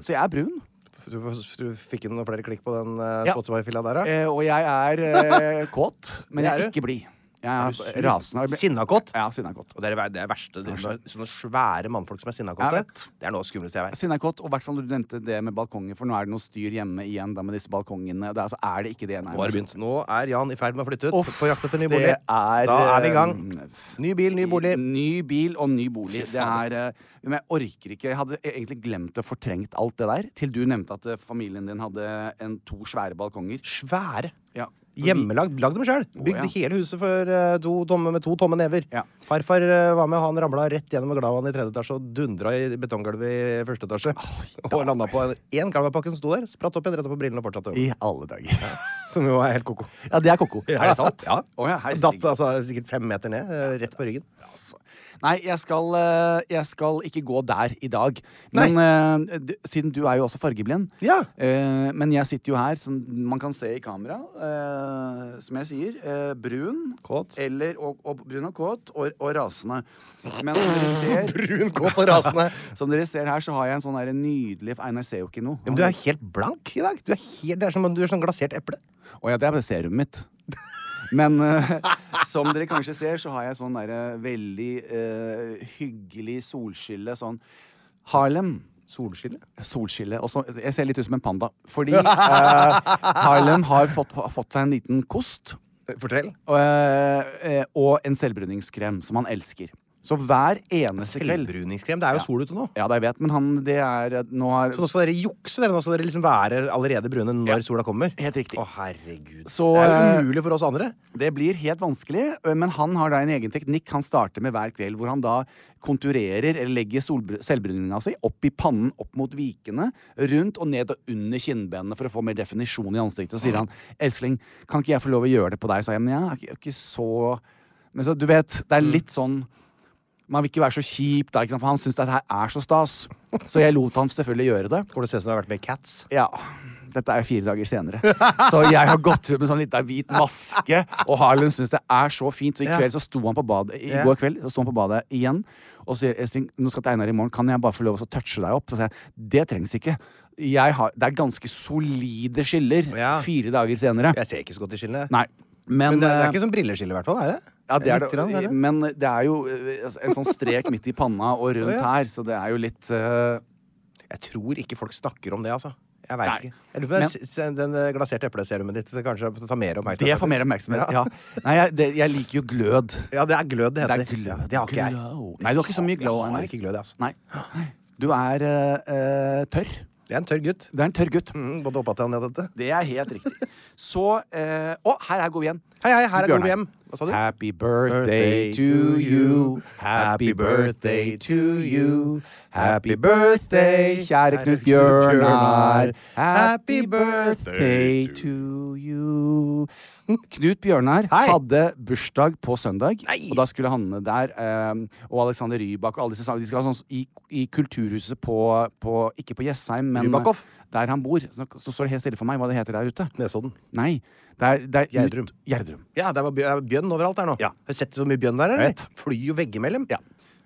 [SPEAKER 4] Så jeg er brun.
[SPEAKER 3] Du, du fikk inn noen flere klikk på den eh,
[SPEAKER 4] Ja.
[SPEAKER 3] Spotify-filla der, da?
[SPEAKER 4] Eh, og jeg er eh, kåt, men
[SPEAKER 3] Det
[SPEAKER 4] jeg
[SPEAKER 3] er
[SPEAKER 4] er
[SPEAKER 3] du.
[SPEAKER 4] ikke blid. Jeg er,
[SPEAKER 3] du
[SPEAKER 4] er
[SPEAKER 3] sur?
[SPEAKER 4] rasende. Jeg ble-
[SPEAKER 3] Sinnakåt?
[SPEAKER 4] Ja, sinna kåt.
[SPEAKER 3] Og det er det ver- det er verste. Det er sånne svære mannfolk som er sinnakåte.
[SPEAKER 4] Jeg vet.
[SPEAKER 3] Det er noe av det skumleste jeg vet.
[SPEAKER 4] Sinna kåt, og i hvert fall når du nevnte det med balkonger, for nå er det noe styr hjemme igjen da med disse balkongene. Det er, altså, er det ikke det? Nei,
[SPEAKER 3] Nå er, det begynt. nå er Jan i ferd med å flytte ut
[SPEAKER 4] Uff,
[SPEAKER 3] på jakt etter ny
[SPEAKER 4] det
[SPEAKER 3] bolig.
[SPEAKER 4] er,
[SPEAKER 3] da er vi i gang.
[SPEAKER 4] eh,
[SPEAKER 3] Ny bil, ny bolig.
[SPEAKER 4] Ny bil og ny bolig. Det er, eh, men jeg orker ikke. Jeg hadde e- egentlig glemt og fortrengt alt det der, til du nevnte at eh, familien din hadde en, to svære balkonger.
[SPEAKER 3] Svære.
[SPEAKER 4] Ja.
[SPEAKER 3] Hjemmelagd. Lagd dem sjøl. Bygde
[SPEAKER 4] ja.
[SPEAKER 3] hele huset for eh, to tomme, med to tomme never.
[SPEAKER 4] Ja.
[SPEAKER 3] Farfar eh, var med, han ramla rett gjennom Glavan i tredje etasje og dundra i betonggulvet i første etasje. og landa på én Glavapakke som sto der. Spratt opp igjen, retta på brillene og fortsatte.
[SPEAKER 4] I alle dager.
[SPEAKER 3] Som jo er helt ko-ko.
[SPEAKER 4] Ja, det er koko. Er det sant?
[SPEAKER 3] Ja.
[SPEAKER 4] Å, ja, herregud.
[SPEAKER 3] Datt altså, sikkert fem meter ned, eh, rett på ryggen.
[SPEAKER 4] Altså. Nei, jeg skal, eh, jeg skal ikke gå der i dag.
[SPEAKER 3] Nei.
[SPEAKER 4] Men eh, du, siden du er jo også fargeblind
[SPEAKER 3] Ja.
[SPEAKER 4] eh, Men jeg sitter jo her, som man kan se i kamera, eh, som jeg sier, eh, brun
[SPEAKER 3] Kåt.
[SPEAKER 4] Eller, og, og, brun og kåt og, og rasende. Men som dere ser,
[SPEAKER 3] Brun, kåt og rasende.
[SPEAKER 4] som dere ser her, så har jeg en sånn der nydelig Einar ser jo ikke noe.
[SPEAKER 3] Ja, men du er helt blank i dag. Du er helt, det er som om du er sånn glasert eple.
[SPEAKER 4] Å ja, det er bare serumet mitt. Men eh, som dere kanskje ser, så har jeg sånn derre veldig eh, hyggelig solskille sånn Harlem.
[SPEAKER 3] Solskille?
[SPEAKER 4] Solskille. Og så, jeg ser litt ut som en panda. Fordi eh, Harlem har fått, har fått seg en liten kost.
[SPEAKER 3] Fortell.
[SPEAKER 4] Og, eh, og en selvbruningskrem som han elsker. Så hver eneste kveld
[SPEAKER 3] Selvbruningskrem. Det er jo sol ute nå.
[SPEAKER 4] Ja, da jeg vet, men han det er Nå har
[SPEAKER 3] Så nå skal dere jukse, dere. Nå skal dere liksom være allerede brune når sola kommer.
[SPEAKER 4] Helt riktig.
[SPEAKER 3] Å, herregud.
[SPEAKER 4] Så,
[SPEAKER 3] det er
[SPEAKER 4] eh,
[SPEAKER 3] jo umulig for oss andre.
[SPEAKER 4] Det blir helt vanskelig, men han har da en egen teknikk han starter med hver kveld, hvor han da konturerer eller legger solbr- selvbruninga si opp i pannen, opp mot vikene, rundt og ned og under kinnbenene for å få mer definisjon i ansiktet. Så sier han 'Elsling, kan ikke jeg få lov å gjøre det på deg?' sa jeg, men jeg er ikke, ikke så Men så, du vet, det er
[SPEAKER 3] Mm.
[SPEAKER 4] litt sånn Man vil ikke være så kjip, da, ikke sant? for han syns dette her er så stas. Så jeg lot han selvfølgelig gjøre det.
[SPEAKER 3] Kommer det til å se ut som du har vært med i Cats?
[SPEAKER 4] Ja. Dette er jo fire dager senere. Så jeg har gått ut med sånn lita hvit maske, og Harlem syns det er så fint. Så i
[SPEAKER 3] Ja.
[SPEAKER 4] kveld så sto han på badet I
[SPEAKER 3] Ja.
[SPEAKER 4] går kveld så sto han på badet igjen og sier Estrin, nå skal til Einar i morgen, kan jeg bare få lov å touche deg opp? Så sier jeg det trengs ikke. Jeg har, det er ganske solide skiller
[SPEAKER 3] Ja.
[SPEAKER 4] fire dager senere.
[SPEAKER 3] Jeg ser ikke så godt i skillene.
[SPEAKER 4] Nei. Men,
[SPEAKER 3] Men det, det
[SPEAKER 4] eh,
[SPEAKER 3] er ikke sånn brilleskille, i hvert fall. er det?
[SPEAKER 4] ja, det er
[SPEAKER 3] Litt grann,
[SPEAKER 4] det.
[SPEAKER 3] er det?
[SPEAKER 4] Men det er jo eh, en sånn strek midt i panna og rundt
[SPEAKER 3] Ja.
[SPEAKER 4] her, så det er jo litt eh,
[SPEAKER 3] Jeg tror ikke folk snakker om det, altså. Jeg vet
[SPEAKER 4] Nei.
[SPEAKER 3] ikke. Jeg lurer på
[SPEAKER 4] Men-
[SPEAKER 3] den, s- s- den eh, glaserte epleserumet ditt det kanskje tar mer oppmerksomhet.
[SPEAKER 4] Det får mer oppmerksomhet. Ja. Nei, jeg, det, jeg liker jo glød.
[SPEAKER 3] Ja, det er glød det
[SPEAKER 4] Det
[SPEAKER 3] heter.
[SPEAKER 4] er glød.
[SPEAKER 3] Det har ikke jeg.
[SPEAKER 4] Glow. Nei, du har ikke så mye glow.
[SPEAKER 3] Jeg
[SPEAKER 4] Einar.
[SPEAKER 3] har ikke glød, jeg, altså.
[SPEAKER 4] Nei. Du er eh, eh, tørr.
[SPEAKER 3] Det er en tørr gutt.
[SPEAKER 4] Du er en tørr gutt.
[SPEAKER 3] Mm, både opp at han hadde dette.
[SPEAKER 4] Det er helt riktig. Så eh, Å, her er god igjen.
[SPEAKER 3] Hei, hei, her er
[SPEAKER 4] Bjørnar.
[SPEAKER 3] Gode hjem. Hva sa du?
[SPEAKER 4] Happy birthday to you. Happy birthday to you. Happy birthday, kjære Knut Bjørnar. Happy birthday to you. Mm, Knut Bjørnar
[SPEAKER 3] Hei.
[SPEAKER 4] hadde bursdag på søndag,
[SPEAKER 3] Nei.
[SPEAKER 4] og da skulle Hanne der. eh, og Alexander Rybak og alle disse sangene. De skal ha sånn i, i Kulturhuset på, på Ikke på Jessheim, men eh,
[SPEAKER 3] Rybakov.
[SPEAKER 4] der han bor. Så, så står det helt stille for meg hva det heter der ute.
[SPEAKER 3] Nesodden.
[SPEAKER 4] Nei. Det er, det er
[SPEAKER 3] Gjerdrum.
[SPEAKER 4] ut- Gjerdrum.
[SPEAKER 3] Ja, det er bjø- bjønn overalt der nå.
[SPEAKER 4] Ja.
[SPEAKER 3] Har du sett så mye bjønn der?
[SPEAKER 4] Jeg
[SPEAKER 3] eller?
[SPEAKER 4] vet.
[SPEAKER 3] Flyr jo veggimellom. Ja.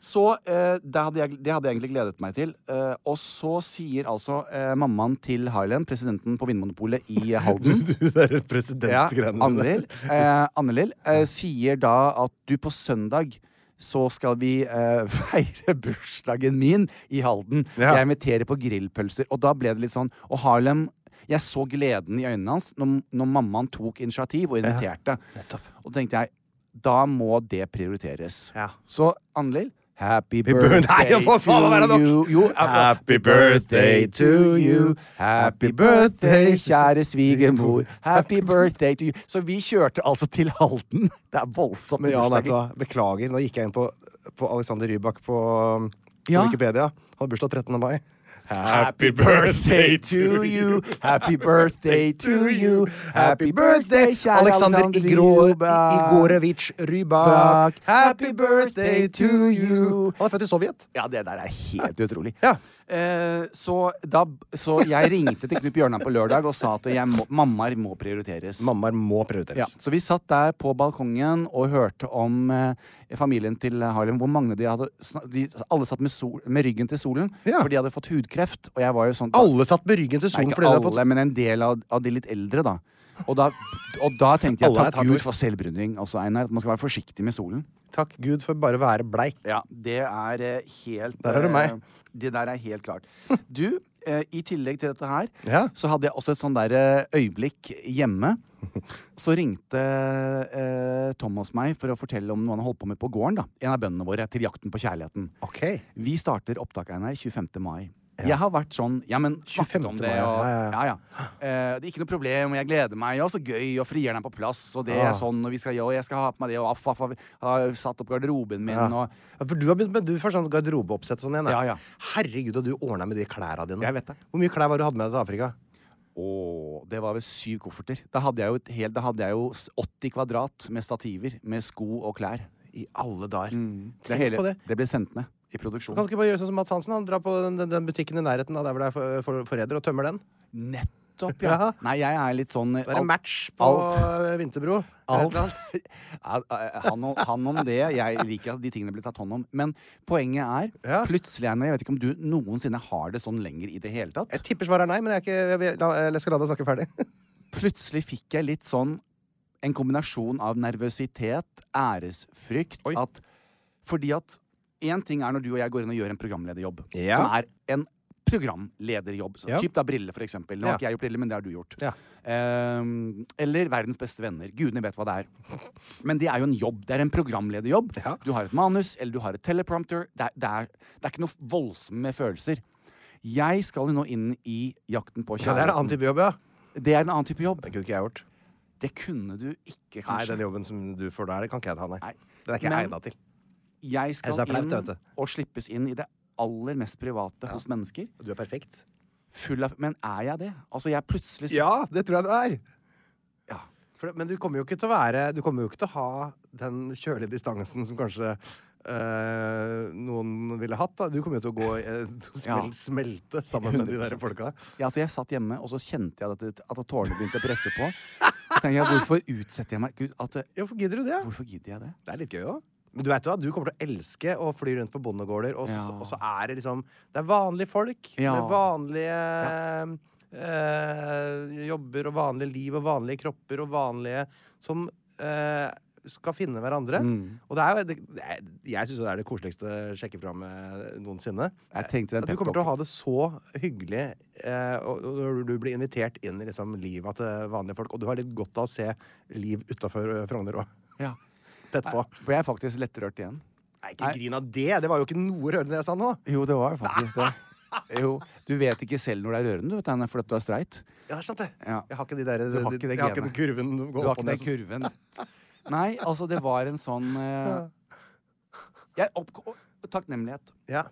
[SPEAKER 4] Så eh, det, hadde jeg, det hadde jeg egentlig gledet meg til. Eh, og så sier altså eh, mammaen til Highland, presidenten på Vinmonopolet i Halden
[SPEAKER 3] Du der
[SPEAKER 4] ja,
[SPEAKER 3] presidentgreiene
[SPEAKER 4] Annelill, eh, Annelill eh, sier da at du på søndag så skal vi eh, feire bursdagen min i Halden.
[SPEAKER 3] Ja.
[SPEAKER 4] Jeg inviterer på grillpølser. Og da ble det litt sånn Og Harlem Jeg så gleden i øynene hans når, når mammaen tok initiativ og inviterte. Og da tenkte jeg da må det prioriteres.
[SPEAKER 3] Ja.
[SPEAKER 4] Så Annelill Happy
[SPEAKER 3] birthday-
[SPEAKER 4] birthday
[SPEAKER 3] Nei, det må faen meg være
[SPEAKER 4] to
[SPEAKER 3] nok.
[SPEAKER 4] you jo,
[SPEAKER 3] Happy birthday to you.
[SPEAKER 4] Happy birthday, kjære svigermor. Happy birthday to you. Så vi kjørte altså til Halden. Det er voldsomt.
[SPEAKER 3] Men ja, nei, vet du
[SPEAKER 4] bursdager.
[SPEAKER 3] hva? Beklager, nå gikk jeg inn på, på Alexander Rybak på, um, på
[SPEAKER 4] Ja.
[SPEAKER 3] Wikipedia. Han hadde bursdag 13. mai.
[SPEAKER 4] Happy birthday to you. Happy birthday to you. Happy birthday, kjære
[SPEAKER 3] Alexander
[SPEAKER 4] Alexander
[SPEAKER 3] Igro-
[SPEAKER 4] Rybak.
[SPEAKER 3] Igorevitsj Rybak.
[SPEAKER 4] Happy birthday to you.
[SPEAKER 3] Han er født i Sovjet.
[SPEAKER 4] Ja, det der er helt utrolig.
[SPEAKER 3] Ja.
[SPEAKER 4] Eh, så, da, så jeg ringte til Knut Bjørnar på lørdag og sa at jeg må, mammaer må prioriteres.
[SPEAKER 3] Mammaer må
[SPEAKER 4] Ja,
[SPEAKER 3] prioriteres.
[SPEAKER 4] så vi satt der på balkongen og hørte om eh, familien til Harlem. Hvor mange de hadde sna- de, Alle satt med, sol, med ryggen til solen,
[SPEAKER 3] Ja.
[SPEAKER 4] for de hadde fått hudkreft. Og jeg var jo sånn
[SPEAKER 3] Alle satt med ryggen til
[SPEAKER 4] Nei,
[SPEAKER 3] solen
[SPEAKER 4] ikke
[SPEAKER 3] fordi de
[SPEAKER 4] alle,
[SPEAKER 3] hadde fått
[SPEAKER 4] men en del av, av de litt eldre, da. Og da, og da tenkte jeg
[SPEAKER 3] Alle er
[SPEAKER 4] takk
[SPEAKER 3] et hardt
[SPEAKER 4] Gud
[SPEAKER 3] ord.
[SPEAKER 4] for selvbruning, altså, Einar. At man skal være forsiktig med solen.
[SPEAKER 3] Takk Gud for bare å være bleik.
[SPEAKER 4] Ja, det er eh, helt
[SPEAKER 3] Der er det
[SPEAKER 4] eh,
[SPEAKER 3] meg.
[SPEAKER 4] Det der er helt klart. Du, eh, i tillegg til dette her,
[SPEAKER 3] Ja.
[SPEAKER 4] så hadde jeg også et sånn derre øyeblikk hjemme. Så ringte eh, Thomas meg for å fortelle om noe han holdt på med på gården. da En av bøndene våre til Jakten på kjærligheten.
[SPEAKER 3] Ok.
[SPEAKER 4] Vi starter opptaket her 25. mai. Jeg har vært sånn Ja, men snakket om
[SPEAKER 3] 25.
[SPEAKER 4] det,
[SPEAKER 3] mai,
[SPEAKER 4] og
[SPEAKER 3] ja, ja,
[SPEAKER 4] ja, ja. Eh, det er ikke noe problem, og jeg gleder meg, og så gøy, og frieren er på plass, og det
[SPEAKER 3] Ah.
[SPEAKER 4] er sånn, og vi skal, ja, og jeg skal ha på meg det, og aff, aff, aff, har satt opp garderoben min,
[SPEAKER 3] Ja.
[SPEAKER 4] og
[SPEAKER 3] Ja, For du har begynt med du får sånn garderobeoppsett og sånn igjen. da.
[SPEAKER 4] Ja, ja.
[SPEAKER 3] Herregud, og du ordna med de klærne dine.
[SPEAKER 4] Jeg vet det.
[SPEAKER 3] Hvor mye klær var det du hadde med deg til Afrika?
[SPEAKER 4] Åh, det var vel syv kofferter. Da hadde jeg jo, et helt, da hadde jeg jo s- 80 kvadrat med stativer, med sko og klær.
[SPEAKER 3] I alle dager.
[SPEAKER 4] Det,
[SPEAKER 3] Mm. Tenk
[SPEAKER 4] hele,
[SPEAKER 3] på det.
[SPEAKER 4] det ble sendt ned
[SPEAKER 3] Du
[SPEAKER 4] i
[SPEAKER 3] kan
[SPEAKER 4] produksjon.
[SPEAKER 3] ikke bare gjøre sånn som Mads Hansen. Han drar på den, den, den butikken i nærheten av der hvor det er for- for- forræder, og tømmer den.
[SPEAKER 4] Nettopp, ja.
[SPEAKER 3] Ja.
[SPEAKER 4] Nei, jeg er litt sånn
[SPEAKER 3] Det er en match på
[SPEAKER 4] alt-
[SPEAKER 3] eh, Vinterbro.
[SPEAKER 4] Alt.
[SPEAKER 3] Et eller annet.
[SPEAKER 4] Ja, eh, han, om- han om det. Jeg liker at de tingene blir tatt hånd om. Men poenget er
[SPEAKER 3] Ja.
[SPEAKER 4] plutselig Einar, Jeg vet ikke om du noensinne har det sånn lenger i det hele tatt.
[SPEAKER 3] Jeg tipper svaret er nei, men jeg, er ikke, jeg, vil- la, jeg skal la deg snakke ferdig.
[SPEAKER 4] Plutselig fikk jeg litt sånn en kombinasjon av nervøsitet, æresfrykt
[SPEAKER 3] Oi.
[SPEAKER 4] at Fordi at én ting er når du og jeg går inn og gjør en programlederjobb,
[SPEAKER 3] Ja.
[SPEAKER 4] som er en programlederjobb. Så
[SPEAKER 3] Ja.
[SPEAKER 4] Typ da briller, for eksempel. Nå
[SPEAKER 3] Ja.
[SPEAKER 4] har ikke jeg gjort briller, men det har du gjort.
[SPEAKER 3] Ja.
[SPEAKER 4] Ehm, eller Verdens beste venner. Gudene vet hva det er. Men det er jo en jobb. Det er en programlederjobb.
[SPEAKER 3] Ja.
[SPEAKER 4] Du har et manus, eller du har et teleprompter. Det er, det er, det er ikke noe voldsomt med følelser. Jeg skal jo nå inn i Jakten på
[SPEAKER 3] Ja, det er en annen type jobb, ja.
[SPEAKER 4] Det er en annen type jobb.
[SPEAKER 3] Det kunne ikke jeg gjort.
[SPEAKER 4] Det kunne du
[SPEAKER 3] Nei,
[SPEAKER 4] ikke, kanskje.
[SPEAKER 3] den jobben som du får der, det kan ikke jeg ta, nei.
[SPEAKER 4] Nei.
[SPEAKER 3] Den er ikke
[SPEAKER 4] Men-
[SPEAKER 3] jeg egna til.
[SPEAKER 4] jeg skal
[SPEAKER 3] Jeg synes det er flaut, vet
[SPEAKER 4] inn
[SPEAKER 3] du.
[SPEAKER 4] og slippes inn i det aller mest private hos mennesker.
[SPEAKER 3] Du er perfekt.
[SPEAKER 4] Full av, men er jeg det? Altså, jeg plutselig
[SPEAKER 3] Ja, det tror jeg du er.
[SPEAKER 4] Ja.
[SPEAKER 3] For, det- men du kommer jo ikke til å være Du kommer jo ikke til å ha den kjølige distansen som kanskje eh, noen ville hatt. Da. Du kommer jo til å gå eh, til å smel,
[SPEAKER 4] Ja.
[SPEAKER 3] smelte sammen med de der
[SPEAKER 4] 100%.
[SPEAKER 3] folka.
[SPEAKER 4] Ja, altså jeg satt hjemme, og så kjente jeg at, det- at tårene begynte å presse på. Så tenkte jeg, hvorfor utsetter jeg meg? Gud, at, det-
[SPEAKER 3] Ja, Hvorfor gidder du det?
[SPEAKER 4] hvorfor gidder jeg det?
[SPEAKER 3] Det er litt gøy òg. Men du vet jo hva, du kommer til å elske å fly rundt på bondegårder, og, så-
[SPEAKER 4] Ja.
[SPEAKER 3] og så er det liksom Det er vanlige folk
[SPEAKER 4] Ja.
[SPEAKER 3] med vanlige eh, jobber og vanlige liv og vanlige kropper og vanlige Som eh, skal finne hverandre.
[SPEAKER 4] Mm.
[SPEAKER 3] Og det er jo det, det er, Jeg syns det er det koseligste sjekkeprogrammet noensinne.
[SPEAKER 4] Jeg tenkte den
[SPEAKER 3] At du kommer til å ha det
[SPEAKER 4] pep-talken.
[SPEAKER 3] så hyggelig, eh, og, og når du blir invitert inn i liksom, livet til vanlige folk. Og du har litt godt av å se liv utafor Frogner òg.
[SPEAKER 4] Ja.
[SPEAKER 3] Tett på.
[SPEAKER 4] For jeg er faktisk lettrørt igjen.
[SPEAKER 3] Nei, ikke grin av det! Det var jo ikke noe rørende det jeg sa nå.
[SPEAKER 4] Jo, det var faktisk det. Jo, du vet ikke selv når det er rørende, du vet, Anne, fordi at du er streit.
[SPEAKER 3] Ja, det er sant, det.
[SPEAKER 4] Ja.
[SPEAKER 3] Jeg har ikke de der
[SPEAKER 4] Du har
[SPEAKER 3] de-
[SPEAKER 4] ikke det
[SPEAKER 3] Jeg har ikke
[SPEAKER 4] genet.
[SPEAKER 3] den kurven å
[SPEAKER 4] Du
[SPEAKER 3] gå
[SPEAKER 4] har
[SPEAKER 3] opp og
[SPEAKER 4] ikke
[SPEAKER 3] ned.
[SPEAKER 4] den kurven. Nei, altså, det var en sånn eh, jeg opp, å, Takknemlighet.
[SPEAKER 3] Ja.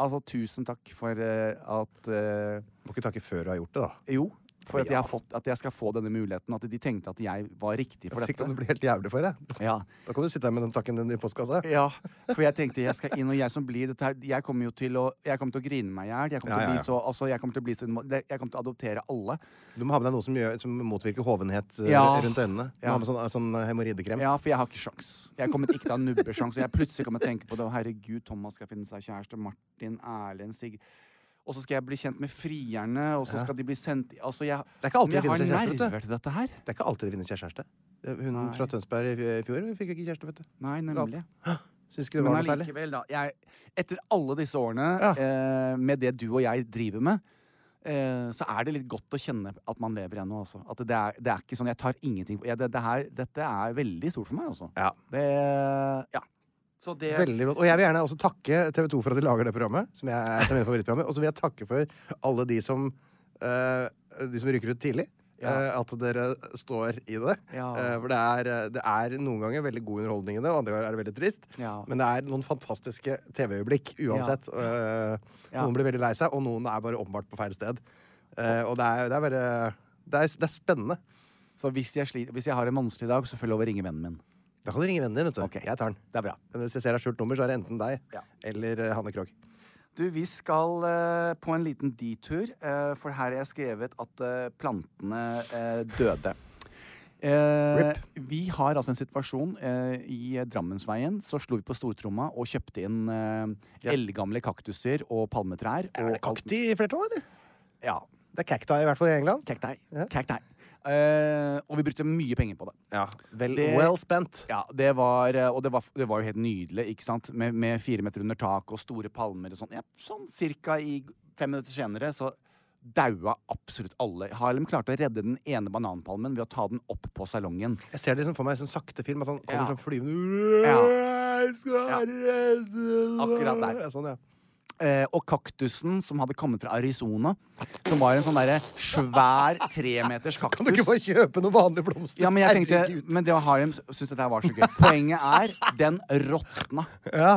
[SPEAKER 4] Altså, tusen takk for eh, at eh,
[SPEAKER 3] Må ikke takke før du har gjort det, da.
[SPEAKER 4] Jo, for at jeg,
[SPEAKER 3] Ja.
[SPEAKER 4] har fått, at jeg skal få denne muligheten. At de tenkte at jeg var riktig for
[SPEAKER 3] Tenk
[SPEAKER 4] dette.
[SPEAKER 3] om du blir helt jævlig for det.
[SPEAKER 4] Ja.
[SPEAKER 3] Da kan du sitte her med den takken din i postkassa.
[SPEAKER 4] ja. For jeg tenkte jeg skal inn, og jeg som blir dette her Jeg kommer jo til å, jeg kommer til å grine meg i hjel. Jeg kommer
[SPEAKER 3] Ja,
[SPEAKER 4] til å
[SPEAKER 3] ja,
[SPEAKER 4] bli så altså, Jeg kommer til å bli så Jeg kommer til å adoptere alle.
[SPEAKER 3] Du må ha med deg noe som, gjør, som motvirker hovenhet eh,
[SPEAKER 4] Ja.
[SPEAKER 3] rundt øynene. Du
[SPEAKER 4] Ja.
[SPEAKER 3] må ha med sånn, sånn hemoroidekrem.
[SPEAKER 4] Ja, for jeg har ikke sjans. Jeg kommer ikke til å ha nubbesjans. Og jeg plutselig kommer til å tenke på det. og Herregud, Thomas skal finne seg kjæreste. Martin, Erlend, Sig Og så skal jeg bli kjent med frierne, og så skal de bli sendt Altså, jeg,
[SPEAKER 3] Det er ikke alltid
[SPEAKER 4] men
[SPEAKER 3] det
[SPEAKER 4] jeg har
[SPEAKER 3] finnes en kjæreste, vet du.
[SPEAKER 4] nerver til dette her.
[SPEAKER 3] Det er ikke alltid det finnes kjæreste. Hun
[SPEAKER 4] Nei.
[SPEAKER 3] fra Tønsberg i fj- fjor fikk jo ikke kjæreste, vet du.
[SPEAKER 4] Nei, nemlig.
[SPEAKER 3] Syns ikke det
[SPEAKER 4] Men
[SPEAKER 3] var noe særlig.
[SPEAKER 4] allikevel, da. Jeg, etter alle disse årene
[SPEAKER 3] Ja.
[SPEAKER 4] eh, med det du og jeg driver med, eh, så er det litt godt å kjenne at man lever ennå, altså. At det er, det er ikke sånn Jeg tar ingenting for- ja, det, det her, Dette er veldig stort for meg, altså.
[SPEAKER 3] Ja.
[SPEAKER 4] Det Ja. Så det
[SPEAKER 3] Veldig rått. Og jeg vil gjerne også takke TV 2 for at de lager det programmet. Som jeg er mine favorittprogrammer Og så vil jeg takke for alle de som eh, De som rykker ut tidlig. eh, at dere står i det.
[SPEAKER 4] Ja.
[SPEAKER 3] Eh, for det er, eh, det er noen ganger veldig god underholdning i det, og andre ganger er det veldig trist.
[SPEAKER 4] Ja.
[SPEAKER 3] Men det er noen fantastiske TV-øyeblikk uansett. Eh,
[SPEAKER 4] Ja.
[SPEAKER 3] Noen blir veldig lei seg, og noen er bare åpenbart på feil sted. Eh, og det er, det er bare det er, det er spennende.
[SPEAKER 4] Så hvis jeg, sliter, hvis jeg har en vanskelig dag, så får jeg lov å ringe vennen min.
[SPEAKER 3] Da kan du ringe vennen din. vet du
[SPEAKER 4] Ok.
[SPEAKER 3] Jeg tar den.
[SPEAKER 4] Det er bra.
[SPEAKER 3] Men Hvis jeg ser deg skjult nummer, så er det enten deg
[SPEAKER 4] Ja.
[SPEAKER 3] eller eh, Hanne Krogh.
[SPEAKER 4] Du, vi skal eh, på en liten detur, eh, for her har jeg skrevet at eh, plantene eh, døde. Eh, vi har altså en situasjon eh, i Drammensveien. Så slo vi på stortromma og kjøpte inn eh,
[SPEAKER 3] Ja.
[SPEAKER 4] eldgamle kaktuser og palmetrær. Og
[SPEAKER 3] Er det
[SPEAKER 4] alt-
[SPEAKER 3] kakti i flertall, eller?
[SPEAKER 4] Ja.
[SPEAKER 3] Det er cacti, i hvert fall i England.
[SPEAKER 4] Cacti.
[SPEAKER 3] Ja.
[SPEAKER 4] Cacti. Eh, og vi brukte mye penger på det.
[SPEAKER 3] Ja, vel,
[SPEAKER 4] Det-
[SPEAKER 3] Well spent.
[SPEAKER 4] Ja, det var, eh, og det var, det var jo helt nydelig, ikke sant? Med, med fire meter under tak og store palmer og sånn. Ja, sånn cirka i fem minutter senere så daua absolutt alle. Harlem klarte å redde den ene bananpalmen ved å ta den opp på salongen.
[SPEAKER 3] Jeg ser det liksom for meg i sånn sakte film. At han kommer
[SPEAKER 4] Ja.
[SPEAKER 3] sånn flyvende Jeg skal
[SPEAKER 4] Ja.
[SPEAKER 3] redde
[SPEAKER 4] Akkurat der.
[SPEAKER 3] Ja, Sånn, ja.
[SPEAKER 4] Eh, og kaktusen som hadde kommet fra Arizona, som var en sånn derre svær tremeters kaktus.
[SPEAKER 3] Kan du ikke bare kjøpe noen vanlige blomster?
[SPEAKER 4] Ja, men jeg tenkte,
[SPEAKER 3] Herregud.
[SPEAKER 4] men det var Harlem syntes dette her var så gøy. Poenget er, den råtna.
[SPEAKER 3] Ja,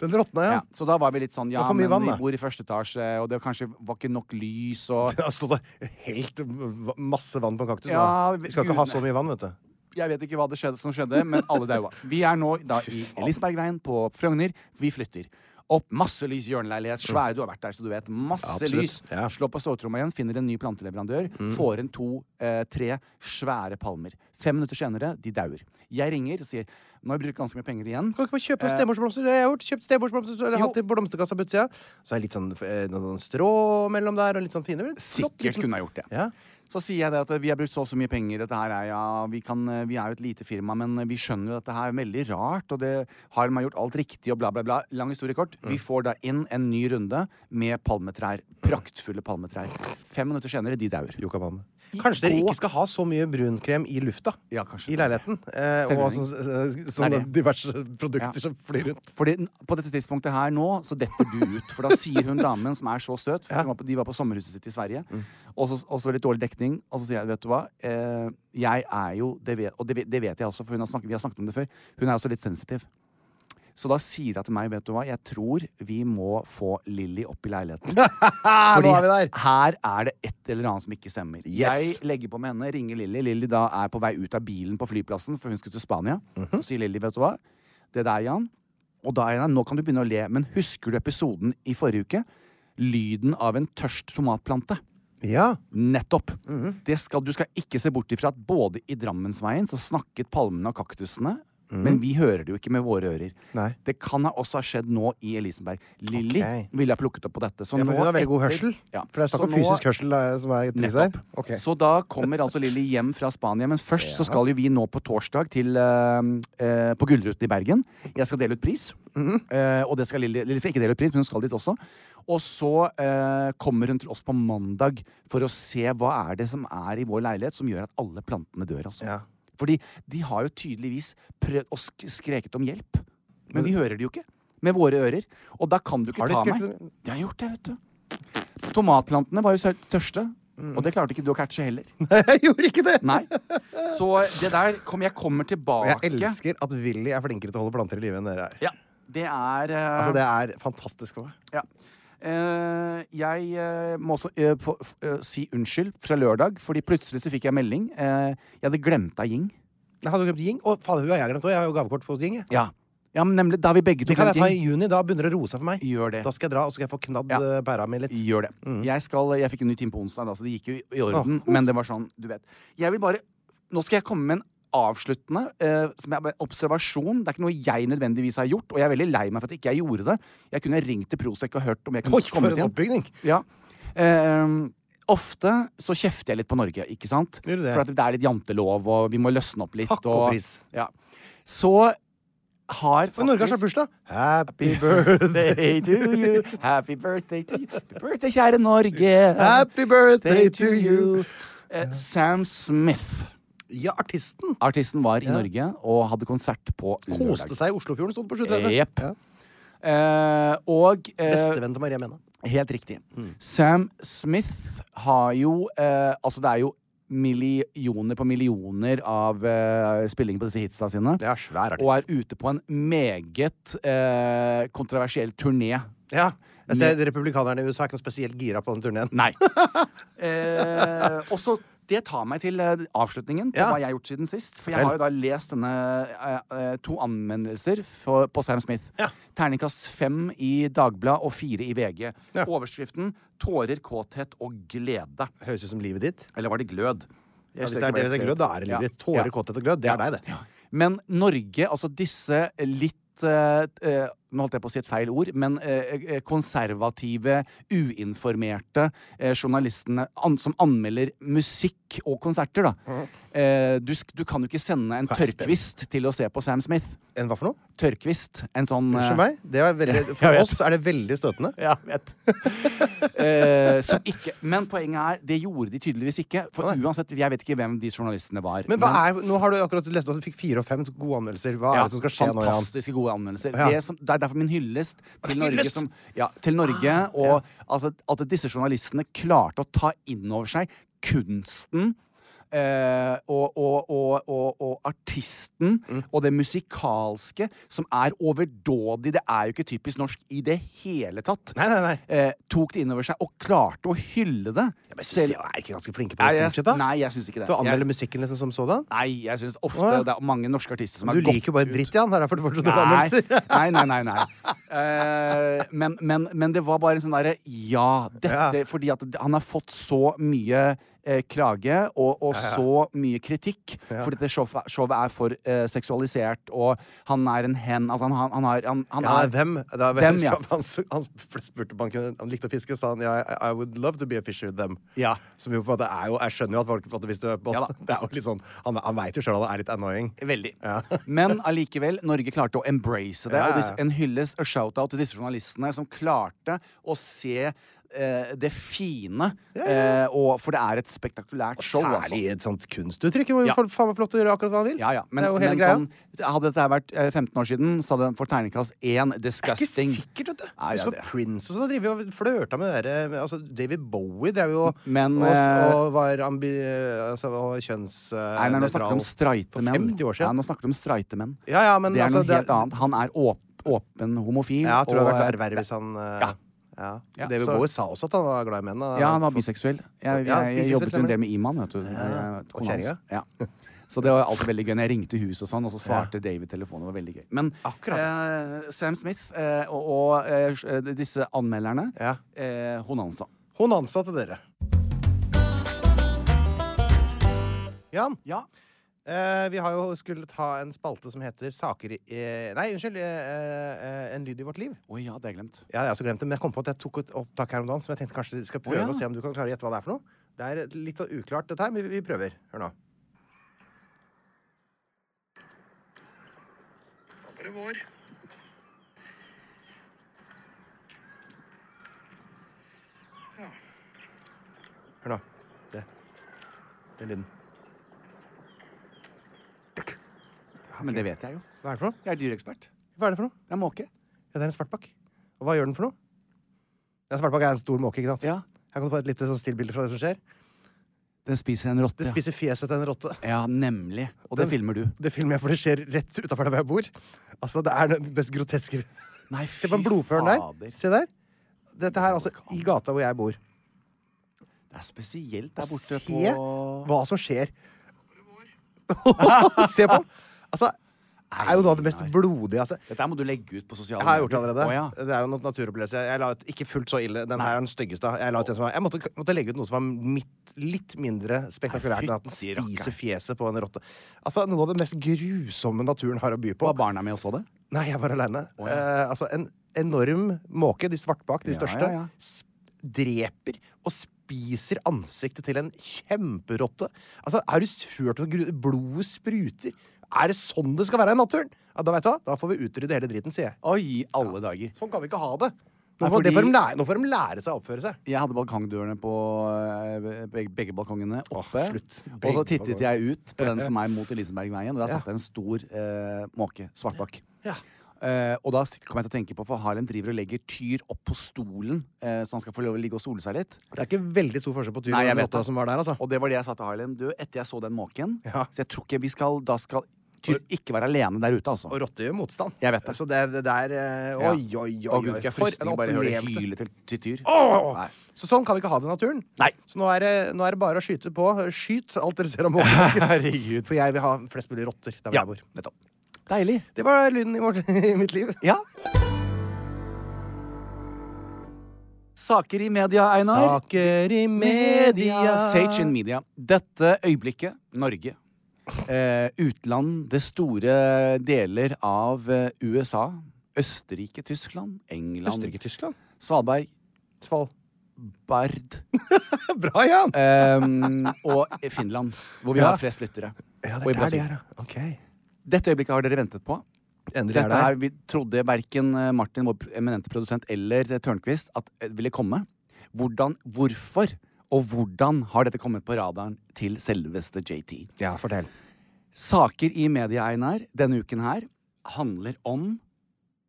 [SPEAKER 3] Den råtna, ja.
[SPEAKER 4] Ja, så da var vi litt sånn Ja,
[SPEAKER 3] Det var for mye
[SPEAKER 4] men
[SPEAKER 3] vann,
[SPEAKER 4] vi
[SPEAKER 3] da.
[SPEAKER 4] bor i første etasje, og det kanskje var ikke nok lys, og
[SPEAKER 3] Det har stått og helt v- masse vann på en kaktus. nå.
[SPEAKER 4] Ja,
[SPEAKER 3] Vi skal ikke ha
[SPEAKER 4] gudene.
[SPEAKER 3] så mye vann, vet du.
[SPEAKER 4] Jeg vet ikke hva det skjedde som skjedde, men alle daua. Vi er nå da i Lisbergveien på Frogner. Vi flytter. Opp masse lys i hjørneleilighet. Svære, du har vært der, så du vet. Masse
[SPEAKER 3] Absolutt,
[SPEAKER 4] lys.
[SPEAKER 3] ja. Mm.
[SPEAKER 4] Slå på ståltromma igjen, finner en ny planteleverandør. Får inn to-tre svære palmer. Fem minutter senere, de dauer. Jeg ringer og sier nå har jeg brukt ganske mye penger
[SPEAKER 3] Kan
[SPEAKER 4] igjen.
[SPEAKER 3] du ikke bare kjøpe stemorsblomster? Det har jeg gjort. Kjøpt stemorsblomster, så har jeg
[SPEAKER 4] Jo.
[SPEAKER 3] hatt i blomsterkassa på utsida. Så er det litt sånn, eh, noen sånn strå mellom der, og litt sånn fine. Flott
[SPEAKER 4] Sikkert
[SPEAKER 3] liten-
[SPEAKER 4] kunne jeg gjort det.
[SPEAKER 3] Ja.
[SPEAKER 4] Så sier jeg det at vi har brukt så og så mye penger. Dette her er, ja, vi, kan, eh, vi er jo et lite firma, men vi skjønner jo dette her er veldig rart. Og det har man gjort alt riktig, og bla, bla, bla. Lang historie kort. Vi får da inn en ny runde med palmetrær. praktfulle palmetrær. Fem minutter senere, de dauer.
[SPEAKER 3] Yucca palme. Kanskje dere ikke skal ha så mye brunkrem i lufta
[SPEAKER 4] Ja, kanskje
[SPEAKER 3] i
[SPEAKER 4] det er
[SPEAKER 3] leiligheten. Eh, og
[SPEAKER 4] Selvrening.
[SPEAKER 3] sånne,
[SPEAKER 4] Er
[SPEAKER 3] sånne
[SPEAKER 4] det?
[SPEAKER 3] diverse
[SPEAKER 4] Ja.
[SPEAKER 3] produkter som flyr rundt.
[SPEAKER 4] Fordi n- på dette tidspunktet her nå, så detter du ut. For da sier hun damen som er så søt for hun var på, De var på sommerhuset sitt i Sverige. Og så og så litt dårlig dekning. Og så sier jeg, vet du hva eh, Jeg er jo det vet, Og det vet, det vet jeg også, for hun har snakket, vi har snakket om det før. Hun er også litt sensitiv. Så da sier hun til meg, vet du hva, jeg tror vi må få Lilly opp i leiligheten. Fordi
[SPEAKER 3] er vi der.
[SPEAKER 4] her er det et eller annet som ikke stemmer.
[SPEAKER 3] Yes.
[SPEAKER 4] Jeg legger på med henne, ringer Lilly. Lilly da er på vei ut av bilen på flyplassen, for hun skulle til Spania.
[SPEAKER 3] Mhm.
[SPEAKER 4] Så sier Lilly, vet du hva, det der, Jan Og da, Jan, nå kan du begynne å le, men husker du episoden i forrige uke? Lyden av en tørst tomatplante.
[SPEAKER 3] Ja.
[SPEAKER 4] Nettopp.
[SPEAKER 3] Mhm.
[SPEAKER 4] det skal, du skal ikke se bort ifra at både i Drammensveien så snakket palmene og kaktusene, men vi hører det jo ikke med våre ører.
[SPEAKER 3] Mhm. Nei.
[SPEAKER 4] Det kan ha også ha skjedd nå i Elisenberg. Lilly
[SPEAKER 3] Ok.
[SPEAKER 4] ville ha plukket opp på dette. Så
[SPEAKER 3] Ja, for
[SPEAKER 4] nå
[SPEAKER 3] hun har veldig god
[SPEAKER 4] etter-
[SPEAKER 3] hørsel.
[SPEAKER 4] Ja.
[SPEAKER 3] For det er
[SPEAKER 4] Så
[SPEAKER 3] snakk om
[SPEAKER 4] nå-
[SPEAKER 3] fysisk hørsel eh, som er trist her.
[SPEAKER 4] Nettopp.
[SPEAKER 3] Ok.
[SPEAKER 4] Så da kommer altså Lilly hjem fra Spania, men først så skal jo vi nå på torsdag til eh, eh, på Gullruten i Bergen. Jeg skal dele ut pris.
[SPEAKER 3] Mhm.
[SPEAKER 4] Eh, og det skal Lilly Lilly skal ikke dele ut pris, men hun skal dit også. Og så eh, kommer hun til oss på mandag for å se hva er det som er i vår leilighet som gjør at alle plantene dør, altså.
[SPEAKER 3] Ja.
[SPEAKER 4] Fordi de har jo tydeligvis prøvd å sk skreket om hjelp. Men vi hører det jo ikke. Med våre ører. Og da kan du ikke
[SPEAKER 3] Har de
[SPEAKER 4] ta
[SPEAKER 3] skreket
[SPEAKER 4] meg.
[SPEAKER 3] om-
[SPEAKER 4] De har gjort det, vet du. Tomatplantene var jo så tørste.
[SPEAKER 3] Mm.
[SPEAKER 4] Og det klarte ikke du å catche heller.
[SPEAKER 3] Jeg gjorde ikke det!
[SPEAKER 4] Nei. Så det der kom, Jeg kommer
[SPEAKER 3] Og
[SPEAKER 4] tilbake.
[SPEAKER 3] jeg elsker at Willy er flinkere til å holde planter i live enn dere er.
[SPEAKER 4] Ja. Det er eh,
[SPEAKER 3] Altså, det er fantastisk for meg.
[SPEAKER 4] ja. Eh, jeg eh, må også eh, få, f- eh, si unnskyld fra lørdag, fordi plutselig så fikk jeg melding. Eh, jeg hadde glemt av Ying.
[SPEAKER 3] Jeg hadde glemt Ying. Og fader, hun har jeg glemt òg. Jeg har jo gavekort på Ying. jeg.
[SPEAKER 4] Ja. men nemlig. Da har vi begge to
[SPEAKER 3] Det kan
[SPEAKER 4] glemt
[SPEAKER 3] jeg ta i
[SPEAKER 4] Ying.
[SPEAKER 3] juni. Da begynner det å roe seg for meg.
[SPEAKER 4] Gjør det.
[SPEAKER 3] Da skal jeg dra, og så skal jeg få knadd
[SPEAKER 4] Ja.
[SPEAKER 3] eh, pæra mi litt.
[SPEAKER 4] Gjør det.
[SPEAKER 3] Mm.
[SPEAKER 4] Jeg, skal, jeg fikk en ny time på onsdag, da, så det gikk jo i, i orden. Men det var sånn, du vet. Jeg vil bare Nå skal jeg komme med en avsluttende eh, som er bare en observasjon. Det er ikke noe jeg nødvendigvis har gjort, og jeg er veldig lei meg for at ikke jeg gjorde det. Jeg kunne ringt til Prosec og hørt om jeg kunne
[SPEAKER 3] Oi, for
[SPEAKER 4] komme
[SPEAKER 3] en
[SPEAKER 4] til
[SPEAKER 3] oppbygning!
[SPEAKER 4] Ja. Ehm, ofte så kjefter jeg litt på Norge, ikke sant?
[SPEAKER 3] Gjør du det?
[SPEAKER 4] For at det er litt jantelov, og vi må løsne opp litt.
[SPEAKER 3] Takk og pris.
[SPEAKER 4] Ja. Så har
[SPEAKER 3] Og Norge har
[SPEAKER 4] faktisk-
[SPEAKER 3] snart bursdag. Happy
[SPEAKER 4] Happy
[SPEAKER 3] birthday!
[SPEAKER 4] birthday to you. Happy birthday to you. Happy birthday, kjære Norge.
[SPEAKER 3] Happy birthday to you.
[SPEAKER 4] Eh, Sam Smith.
[SPEAKER 3] Ja, artisten
[SPEAKER 4] Artisten var i Norge og hadde konsert på lørdag.
[SPEAKER 3] koste seg i Oslofjorden, sto det på 730.
[SPEAKER 4] Jepp.
[SPEAKER 3] Ja.
[SPEAKER 4] Eh, og eh,
[SPEAKER 3] Bestevenn til Maria Mena.
[SPEAKER 4] Helt riktig.
[SPEAKER 3] Mm.
[SPEAKER 4] Sam Smith har jo eh, Altså, det er jo millioner på millioner av eh, spillinger på disse hitsa sine.
[SPEAKER 3] Det er svær
[SPEAKER 4] Og er ute på en meget eh, kontroversiell turné.
[SPEAKER 3] Ja. Jeg ser Republikanerne i USA er ikke noe spesielt gira på den turneen.
[SPEAKER 4] Nei. eh, og så det tar meg til eh, avslutningen på
[SPEAKER 3] Ja.
[SPEAKER 4] hva jeg har gjort siden sist. For jeg har jo da lest denne eh, eh, to anmeldelser for, på Sam Smith.
[SPEAKER 3] Ja.
[SPEAKER 4] Terningkast fem i Dagbladet og fire i VG.
[SPEAKER 3] Ja.
[SPEAKER 4] Overskriften 'Tårer, kåthet og glede'.
[SPEAKER 3] Høres ut som livet ditt.
[SPEAKER 4] Eller var det glød?
[SPEAKER 3] Ja, hvis det er deres glød, da er det livet ditt. Tårer, kåthet og glød, det er deg, det.
[SPEAKER 4] Men Norge, altså disse litt eh, eh, Nå holdt jeg på å si et feil ord, men eh, eh, konservative, uinformerte eh, journalistene an, som anmelder musikk og konserter, da.
[SPEAKER 3] Mm.
[SPEAKER 4] Eh, du, sk- du kan jo ikke sende en
[SPEAKER 3] Hva er spennende?
[SPEAKER 4] tørrkvist til å se på Sam Smith.
[SPEAKER 3] En hva for noe?
[SPEAKER 4] Tørrkvist. En sånn eh,
[SPEAKER 3] Unnskyld meg. Det var veldig,
[SPEAKER 4] jeg
[SPEAKER 3] for
[SPEAKER 4] vet.
[SPEAKER 3] oss er det veldig støtende.
[SPEAKER 4] Ja, vet. eh, som ikke Men poenget er, det gjorde de tydeligvis ikke. For uansett, jeg vet ikke hvem de journalistene var.
[SPEAKER 3] Men hva er, nå har du akkurat lest opp, du fikk fire og fem gode anmeldelser. Hva er det som skal skje nå, Jan?
[SPEAKER 4] Fantastiske gode anmeldelser.
[SPEAKER 3] Ja.
[SPEAKER 4] Det, som, det er derfor min hyllest til Norge,
[SPEAKER 3] Hyllest?
[SPEAKER 4] som, ja, til Norge
[SPEAKER 3] Ah,
[SPEAKER 4] og at, at disse journalistene klarte å ta inn over seg kunsten eh, og, og, og, og, og artisten
[SPEAKER 3] Mm.
[SPEAKER 4] og det musikalske, som er overdådig. Det er jo ikke typisk norsk i det hele tatt.
[SPEAKER 3] Nei, nei, nei.
[SPEAKER 4] Eh, tok det inn over seg og klarte å hylle det.
[SPEAKER 3] Men jeg synes
[SPEAKER 4] Selv-
[SPEAKER 3] de er ikke ganske flinke på
[SPEAKER 4] Nei,
[SPEAKER 3] det,
[SPEAKER 4] jeg,
[SPEAKER 3] stort sett, da?
[SPEAKER 4] nei, jeg syns ikke det.
[SPEAKER 3] Til å anmelde
[SPEAKER 4] Jeg,
[SPEAKER 3] musikken liksom som sådan?
[SPEAKER 4] nei, jeg syns ofte
[SPEAKER 3] Å, ja.
[SPEAKER 4] det er mange norske artister som
[SPEAKER 3] Du
[SPEAKER 4] er gått
[SPEAKER 3] liker jo bare
[SPEAKER 4] ut.
[SPEAKER 3] dritt, Jan. Det er derfor du får sånne
[SPEAKER 4] Nei,
[SPEAKER 3] anmeldelser.
[SPEAKER 4] nei, nei. nei, nei. Eh, men, men, men det var bare en sånn derre Ja, dette
[SPEAKER 3] Ja.
[SPEAKER 4] Fordi at han har fått så mye eh, krage og, og så mye kritikk. Fordi dette showet, showet er for eh, seksualisert, og han er en hen. Altså, han, han, han, har- han, han
[SPEAKER 3] Ja,
[SPEAKER 4] er
[SPEAKER 3] hvem? Da,
[SPEAKER 4] Dem, ja.
[SPEAKER 3] Han, han spurte om han, kunne, han likte å fiske, sa han ja, I, I would love to be a fisher with them.
[SPEAKER 4] Ja.
[SPEAKER 3] Som jo på en måte er jo Jeg skjønner jo at folk på en måte, hvis du er på,
[SPEAKER 4] Ja da.
[SPEAKER 3] Det er jo litt sånn Han, han veit jo sjøl at det er litt annoying.
[SPEAKER 4] Veldig.
[SPEAKER 3] Ja.
[SPEAKER 4] Men allikevel, Norge klarte å embrace det.
[SPEAKER 3] Ja, ja,
[SPEAKER 4] Og
[SPEAKER 3] ja.
[SPEAKER 4] disse, en hyllest og shout-out til disse journalistene som klarte å se eh, det fine, eh, og, for det er et spektakulært show, altså.
[SPEAKER 3] Særlig i et sånt kunstuttrykk. Hvor
[SPEAKER 4] Ja.
[SPEAKER 3] folk faen meg får lov til å gjøre akkurat hva han vil.
[SPEAKER 4] Ja, ja. Men,
[SPEAKER 3] det er jo hele
[SPEAKER 4] men
[SPEAKER 3] greia.
[SPEAKER 4] sånn, hadde dette her vært eh, 15 år siden, så hadde den fått terningkast én
[SPEAKER 3] Ikke
[SPEAKER 4] disgusting.
[SPEAKER 3] sikkert, vet du.
[SPEAKER 4] Nei,
[SPEAKER 3] Husk
[SPEAKER 4] ja,
[SPEAKER 3] på
[SPEAKER 4] det.
[SPEAKER 3] Prince og sånn. driver jo og flørta med det der, med- altså, David Bowie drev jo og-
[SPEAKER 4] Men,
[SPEAKER 3] og,
[SPEAKER 4] eh,
[SPEAKER 3] og var ambi... Altså, og kjønns... eh,
[SPEAKER 4] Nei, nei, nå snakker
[SPEAKER 3] nøytral
[SPEAKER 4] vi om streite
[SPEAKER 3] for
[SPEAKER 4] menn.
[SPEAKER 3] 50 år
[SPEAKER 4] Ja,
[SPEAKER 3] siden.
[SPEAKER 4] nå snakker vi om streite menn.
[SPEAKER 3] Ja, ja, men
[SPEAKER 4] det er
[SPEAKER 3] altså,
[SPEAKER 4] noe
[SPEAKER 3] det er-
[SPEAKER 4] helt annet. Han er åp åpen homofil.
[SPEAKER 3] Ja, jeg tror det hadde vært
[SPEAKER 4] og, eh,
[SPEAKER 3] verre hvis han eh,
[SPEAKER 4] Ja.
[SPEAKER 3] ja.
[SPEAKER 4] Ja,
[SPEAKER 3] David
[SPEAKER 4] så-
[SPEAKER 3] Bowie sa også at han var glad i menn. da.
[SPEAKER 4] Ja, han var biseksuell. Jeg, jeg,
[SPEAKER 3] Ja,
[SPEAKER 4] jeg
[SPEAKER 3] biseksuell,
[SPEAKER 4] jobbet jo en
[SPEAKER 3] stemmer
[SPEAKER 4] del med Iman, vet du.
[SPEAKER 3] ja.
[SPEAKER 4] Eh,
[SPEAKER 3] Og
[SPEAKER 4] kona hans.
[SPEAKER 3] kjerringa.
[SPEAKER 4] Ja. Så det var alltid veldig gøy. Når jeg ringte huset og sånn, og så svarte David telefonen. Det var veldig gøy. Men
[SPEAKER 3] Akkurat.
[SPEAKER 4] eh, Sam Smith eh, og, og eh, sj- disse anmelderne
[SPEAKER 3] Ja.
[SPEAKER 4] eh, Honansa.
[SPEAKER 3] Hun ansatte dere. Jan,
[SPEAKER 4] Ja.
[SPEAKER 3] eh, vi har jo skullet ha en spalte som heter Saker i eh, Nei, unnskyld. Eh, eh, en lyd i vårt liv.
[SPEAKER 4] Å ja, det har jeg glemt.
[SPEAKER 3] Ja, jeg har også glemt det, men jeg kom på at jeg tok et opptak her om dagen som jeg tenkte kanskje vi skal prøve
[SPEAKER 4] Å, ja.
[SPEAKER 3] å se om du kan klare å gjette hva det er for noe. Det er litt så uklart, dette her, men vi, vi prøver. Hør nå.
[SPEAKER 6] Bare vår.
[SPEAKER 3] Hør nå. Det. Det er lyden.
[SPEAKER 4] Men det vet jeg jo.
[SPEAKER 3] Hva er det for noe?
[SPEAKER 4] Jeg er dyreekspert.
[SPEAKER 3] Hva er det for noe?
[SPEAKER 4] Jeg er måke.
[SPEAKER 3] Ja, det er en svartbakk. Og hva gjør den for noe? Ja, svartbakk er en stor måke, ikke sant?
[SPEAKER 4] Ja.
[SPEAKER 3] Her kan du få et lite sånn stillbilde fra det som skjer.
[SPEAKER 4] Den spiser en rotte.
[SPEAKER 3] Det spiser fjeset til en rotte.
[SPEAKER 4] Ja, nemlig. Og det
[SPEAKER 3] Den-
[SPEAKER 4] filmer du.
[SPEAKER 3] Det filmer jeg, for det skjer rett utafor der hvor jeg bor. Altså, Det er den mest groteske
[SPEAKER 4] Nei,
[SPEAKER 3] Se på den blodføren der. Se der. Dette her, altså, i gata hvor jeg bor. Altså,
[SPEAKER 4] Det er spesielt der borte
[SPEAKER 3] Se
[SPEAKER 4] på
[SPEAKER 3] hva som skjer. Se på den! Altså, det er jo noe av det mest blodige. altså.
[SPEAKER 4] Dette her må du legge ut på
[SPEAKER 3] Jeg
[SPEAKER 4] sosiale
[SPEAKER 3] har gjort det allerede.
[SPEAKER 4] Å, ja.
[SPEAKER 3] Det er jo noe naturopplevelse. Jeg- Jeg la ut ikke fullt så ille. Den her er den styggeste. Jeg, la ut en som var, jeg måtte, måtte legge ut noe som var mitt, litt mindre spektakulært enn at den
[SPEAKER 4] Fytti rakker.
[SPEAKER 3] spiser fjeset på en rotte. Altså, Noe av det mest grusomme naturen har å by på.
[SPEAKER 4] Var barna med og så det?
[SPEAKER 3] Nei, jeg var aleine. eh, altså, en enorm måke, de svartbak, de
[SPEAKER 4] Ja,
[SPEAKER 3] største,
[SPEAKER 4] ja, ja.
[SPEAKER 3] sp- dreper og spiser ansiktet til en kjemperotte. Altså, Har du s- hørt hvor gru- blodet spruter? Er det sånn det skal være i naturen? Ja, da vet du hva, da får vi utrydde hele driten, sier jeg.
[SPEAKER 4] Oi, i alle dager.
[SPEAKER 3] Sånn kan vi ikke ha det. Nå,
[SPEAKER 4] Nei,
[SPEAKER 3] får, det
[SPEAKER 4] fordi-
[SPEAKER 3] får de lære, nå får de lære seg å oppføre seg.
[SPEAKER 4] Jeg hadde balkongdørene på eh, begge, begge balkongene oppe.
[SPEAKER 3] slutt.
[SPEAKER 4] og så
[SPEAKER 3] Begge
[SPEAKER 4] tittet
[SPEAKER 3] balkonger.
[SPEAKER 4] jeg ut på den som er mot Elisenbergveien, og der satt det en stor eh, måke. Svartbakk.
[SPEAKER 3] Ja.
[SPEAKER 4] Eh, og da kom jeg til å tenke på, for Harlem driver og legger Tyr opp på stolen, eh, så han skal få lov å ligge og sole seg litt.
[SPEAKER 3] Det er ikke veldig stor forskjell på Tyr
[SPEAKER 4] Nei,
[SPEAKER 3] og
[SPEAKER 4] jeg
[SPEAKER 3] den
[SPEAKER 4] vet
[SPEAKER 3] rotta
[SPEAKER 4] det.
[SPEAKER 3] som var der, altså.
[SPEAKER 4] Og det var det jeg sa til Harlem. Du, etter jeg så den måken
[SPEAKER 3] Ja.
[SPEAKER 4] Så jeg tror ikke vi skal Da skal Tyr ikke være alene der ute, altså.
[SPEAKER 3] Og rotter gjør motstand.
[SPEAKER 4] Jeg vet det.
[SPEAKER 3] Så det, det der eh, Oi, oi, oi.
[SPEAKER 4] Og gud,
[SPEAKER 3] oi.
[SPEAKER 4] ikke jeg
[SPEAKER 3] For
[SPEAKER 4] frister
[SPEAKER 3] en
[SPEAKER 4] til å bare høre
[SPEAKER 3] opplevelse.
[SPEAKER 4] hylet til, til Tyr.
[SPEAKER 3] Åh!
[SPEAKER 4] Nei.
[SPEAKER 3] Så sånn kan vi ikke ha det i naturen.
[SPEAKER 4] Nei.
[SPEAKER 3] Så nå er, det, nå er det bare å skyte på. Skyt alt dere ser av måker. folkens. For jeg vil ha flest mulig rotter der hvor
[SPEAKER 4] Ja,
[SPEAKER 3] jeg bor.
[SPEAKER 4] nettopp. Deilig.
[SPEAKER 3] Det var lyden i, vårt, i mitt liv.
[SPEAKER 4] Ja. Saker i media, Einar.
[SPEAKER 3] Saker i
[SPEAKER 4] Sage in media. Dette øyeblikket, Norge. Eh, utland, det store deler av eh, USA. Østerrike, Tyskland, England,
[SPEAKER 3] Østerrike, Tyskland.
[SPEAKER 4] Svalbard,
[SPEAKER 3] Sval.
[SPEAKER 4] Bard
[SPEAKER 3] Bra, Jan!
[SPEAKER 4] ehm, og Finland, hvor vi
[SPEAKER 3] Ja.
[SPEAKER 4] har flest lyttere.
[SPEAKER 3] Ja,
[SPEAKER 4] og
[SPEAKER 3] det er
[SPEAKER 4] i
[SPEAKER 3] der
[SPEAKER 4] Brasil.
[SPEAKER 3] de er, ja. Ok.
[SPEAKER 4] Dette øyeblikket har dere ventet på.
[SPEAKER 3] Endelig er
[SPEAKER 4] Dette
[SPEAKER 3] det
[SPEAKER 4] her,
[SPEAKER 3] her.
[SPEAKER 4] vi trodde verken eh, Martin, vår pr- eminente produsent, eller eh, Tørnquist at det ville komme. Hvordan, hvorfor og hvordan har dette kommet på radaren til selveste JT?
[SPEAKER 3] Ja, fortell.
[SPEAKER 4] Saker i media, Einar, denne uken her handler om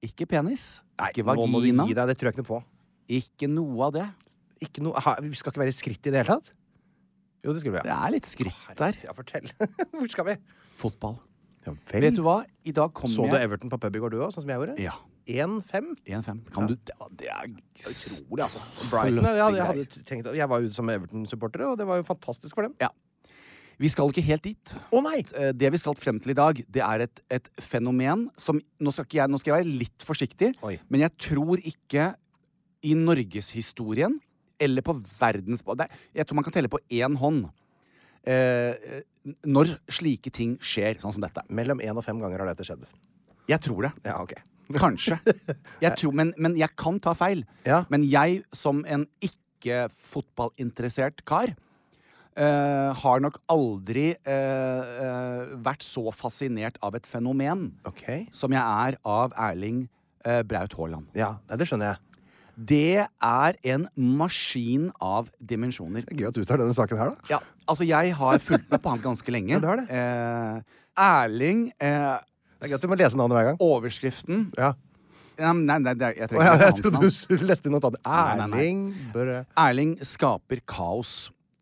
[SPEAKER 4] ikke penis, ikke
[SPEAKER 3] Nå må du
[SPEAKER 4] vagina,
[SPEAKER 3] gi deg. Det tror jeg ikke noe på.
[SPEAKER 4] ikke noe av det.
[SPEAKER 3] Ikke noe, ha, vi skal ikke være i skritt i det hele tatt? Jo, det skulle vi
[SPEAKER 4] Det
[SPEAKER 3] ha.
[SPEAKER 4] er litt skritt der.
[SPEAKER 3] Ja, fortell. Hvor skal vi?
[SPEAKER 4] Fotball.
[SPEAKER 3] Ja,
[SPEAKER 4] Vet du hva? I dag kom
[SPEAKER 3] Så du
[SPEAKER 4] jeg
[SPEAKER 3] Everton på pub i går, du òg, sånn som jeg gjorde?
[SPEAKER 4] Ja.
[SPEAKER 3] 1-5?
[SPEAKER 4] 1-5. Kan du Det det er utrolig, altså.
[SPEAKER 3] Brighton, ja, jeg, hadde t- tenkt, jeg var jo som Everton-supportere, og det var jo fantastisk for dem.
[SPEAKER 4] Ja. Vi skal ikke helt dit.
[SPEAKER 3] Å, nei!
[SPEAKER 4] Eh, Det vi skal frem til i dag, det er et, et fenomen som nå skal, ikke jeg, nå skal jeg være litt forsiktig,
[SPEAKER 3] Oi.
[SPEAKER 4] men jeg tror ikke i norgeshistorien eller på verdens det er- Jeg tror man kan telle på én hånd eh, eh, når slike ting skjer, sånn som dette.
[SPEAKER 3] Mellom én og fem ganger har dette skjedd.
[SPEAKER 4] Jeg tror det.
[SPEAKER 3] Ja, ok.
[SPEAKER 4] Kanskje. Jeg tror, men, men jeg kan ta feil.
[SPEAKER 3] Ja.
[SPEAKER 4] Men jeg, som en ikke-fotballinteressert kar, eh, har nok aldri eh, eh, vært så fascinert av et fenomen
[SPEAKER 3] Ok.
[SPEAKER 4] som jeg er av Erling eh, Braut Haaland.
[SPEAKER 3] Ja, nei, det skjønner jeg.
[SPEAKER 4] Det er en maskin av dimensjoner.
[SPEAKER 3] Gøy at du tar denne saken her, da.
[SPEAKER 4] Ja, altså jeg har fulgt med på han ganske lenge.
[SPEAKER 3] du har det.
[SPEAKER 4] Eh, Erling eh,
[SPEAKER 3] Det er greit du må lese navnet hver gang.
[SPEAKER 4] Overskriften
[SPEAKER 3] Ja.
[SPEAKER 4] Nei, nei, nei det er- jeg
[SPEAKER 3] Å,
[SPEAKER 4] trenger
[SPEAKER 3] ja,
[SPEAKER 4] ikke
[SPEAKER 3] jeg
[SPEAKER 4] hans
[SPEAKER 3] trodde
[SPEAKER 4] navn. liksom.
[SPEAKER 3] du skulle leste inn noe annet.
[SPEAKER 4] Nei, nei, nei.
[SPEAKER 3] Erling Børre
[SPEAKER 4] Erling skaper kaos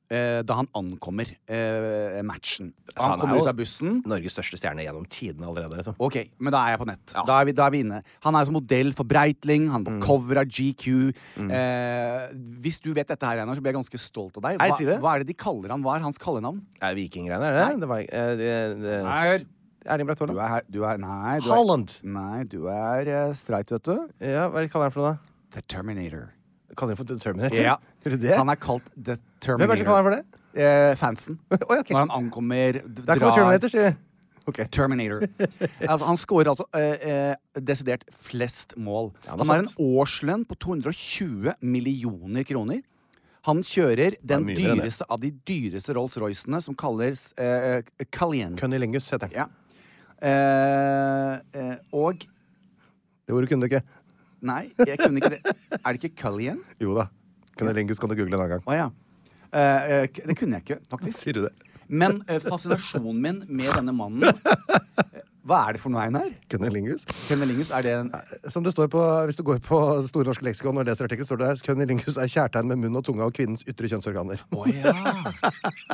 [SPEAKER 4] eh, da han ankommer eh, matchen.
[SPEAKER 3] Så han
[SPEAKER 4] Han
[SPEAKER 3] er
[SPEAKER 4] kommer
[SPEAKER 3] jo-
[SPEAKER 4] ut av bussen.
[SPEAKER 3] Norges største stjerne gjennom tidene allerede. Liksom.
[SPEAKER 4] Ok, men da er jeg på nett. Da, er vi, da er vi inne. Han er som modell for Breitling, han er på cover av GQ. Eh, hvis du vet dette her, Einar, så blir jeg ganske stolt av deg.
[SPEAKER 3] Nei, sier du?
[SPEAKER 4] hva er det de kaller han? Hva er hans kallenavn?
[SPEAKER 3] Er det vikinggreiene, er det? det? var, eh, det, det.
[SPEAKER 4] Eier.
[SPEAKER 3] Erling Braut
[SPEAKER 4] Du
[SPEAKER 3] Haaland.
[SPEAKER 4] er her Du er Nei, du er,
[SPEAKER 3] Haaland!
[SPEAKER 4] nei, du er eh, streit, vet du.
[SPEAKER 3] Ja, hva er det kaller han for noe, da?
[SPEAKER 4] The Terminator.
[SPEAKER 3] Kaller han for The Terminator?
[SPEAKER 4] Ja.
[SPEAKER 3] Gjør du det?
[SPEAKER 4] Han er kalt The Terminator.
[SPEAKER 3] Hvem er det som kaller han for det?
[SPEAKER 4] Eh, fansen.
[SPEAKER 3] Oi, ok.
[SPEAKER 4] Når han ankommer, d-
[SPEAKER 3] Der kommer
[SPEAKER 4] drar-
[SPEAKER 3] Terminator, sier du.
[SPEAKER 4] Terminator. altså, han scorer altså eh, eh, desidert flest mål.
[SPEAKER 3] Ja, det er
[SPEAKER 4] han har en
[SPEAKER 3] sant.
[SPEAKER 4] årslønn på 220 millioner kroner. Han kjører den
[SPEAKER 3] mye mer enn det.
[SPEAKER 4] dyreste av de dyreste Rolls-Roycene, som kalles eh, eh, Cayenne.
[SPEAKER 3] Cunnilingus heter han.
[SPEAKER 4] Ja. Eh, eh, og
[SPEAKER 3] Det ordet kunne du ikke.
[SPEAKER 4] Nei, jeg kunne ikke det. Er det ikke Cullian?
[SPEAKER 3] Jo da. Cunnilingus kan du google en annen gang.
[SPEAKER 4] Å ja. Eh, eh, k- det kunne jeg ikke, faktisk.
[SPEAKER 3] Sier du det?
[SPEAKER 4] Men eh, fascinasjonen min med denne mannen eh, Hva er det for noe, Einar?
[SPEAKER 3] Cunnilingus?
[SPEAKER 4] Kennelingus, er det en
[SPEAKER 3] Som det står på, Hvis du går på Store norske leksikon og leser artikkelen, står det her Cunnilingus er kjærtegn med munn og tunge av kvinnens ytre kjønnsorganer.
[SPEAKER 4] Å ja.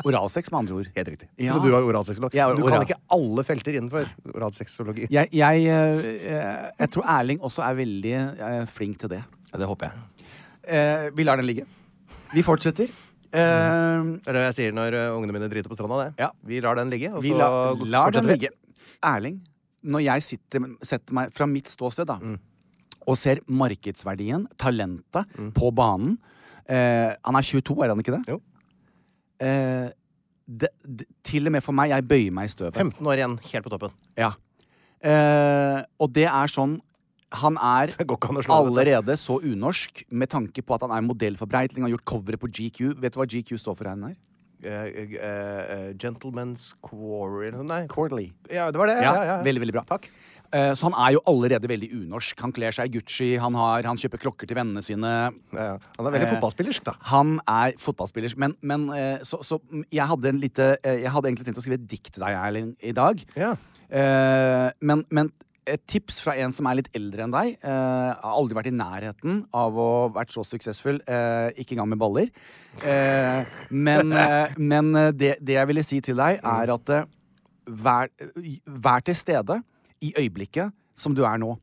[SPEAKER 4] Oralsex, med andre ord.
[SPEAKER 3] Helt riktig.
[SPEAKER 4] Ja.
[SPEAKER 3] Men du er oralsexolog.
[SPEAKER 4] Jeg er
[SPEAKER 3] du kan
[SPEAKER 4] oral-
[SPEAKER 3] ikke alle felter innenfor oralsexologi.
[SPEAKER 4] Jeg, jeg, eh, jeg tror Erling også er veldig eh, flink til det.
[SPEAKER 3] det håper jeg.
[SPEAKER 4] Eh, vi lar den ligge. Vi fortsetter. Eh,
[SPEAKER 3] Det er det jeg sier når ø, ungene mine driter på stranda. Det.
[SPEAKER 4] Ja.
[SPEAKER 3] Vi lar den ligge, og
[SPEAKER 4] vi
[SPEAKER 3] så
[SPEAKER 4] la,
[SPEAKER 3] g-
[SPEAKER 4] lar den
[SPEAKER 3] fortsetter vi.
[SPEAKER 4] ligge. Erling, når jeg sitter, setter meg fra mitt ståsted da,
[SPEAKER 3] Mm.
[SPEAKER 4] og ser markedsverdien, talentet, på banen eh, Han er 22, er han ikke det?
[SPEAKER 3] Mm. Jo.
[SPEAKER 4] Eh, det, det? Til og med for meg, jeg bøyer meg i støvet.
[SPEAKER 3] 15 år igjen, helt på toppen.
[SPEAKER 4] Ja. Eh, og det er sånn Han er
[SPEAKER 3] Det går ikke an å slå dette.
[SPEAKER 4] allerede så unorsk med tanke på at han er modell for Breitling, har gjort coveret på GQ. Vet du hva GQ står for, Einar?
[SPEAKER 3] Eh, eh, eh, gentleman's Quarry Nei.
[SPEAKER 4] Quarterly.
[SPEAKER 3] Ja, det var det.
[SPEAKER 4] Ja, Veldig, veldig bra. Eh, så han er jo allerede veldig unorsk. Han kler seg i Gucci, han, har, han kjøper klokker til vennene sine.
[SPEAKER 3] Ja, ja. Han er veldig
[SPEAKER 4] Eh,
[SPEAKER 3] fotballspillersk, da.
[SPEAKER 4] Han er fotballspiller. Men, men eh, så, så mm, jeg hadde en lite eh, Jeg hadde egentlig tenkt å skrive et dikt til deg, Erling, i dag.
[SPEAKER 3] Ja.
[SPEAKER 4] Eh, men, men et tips fra en som er litt eldre enn deg. eh, har aldri vært i nærheten av å vært så suksessfull. eh, ikke engang med baller. Eh, men eh, men eh, det, det jeg ville si til deg, er at eh, vær, vær til stede i øyeblikket som du er nå.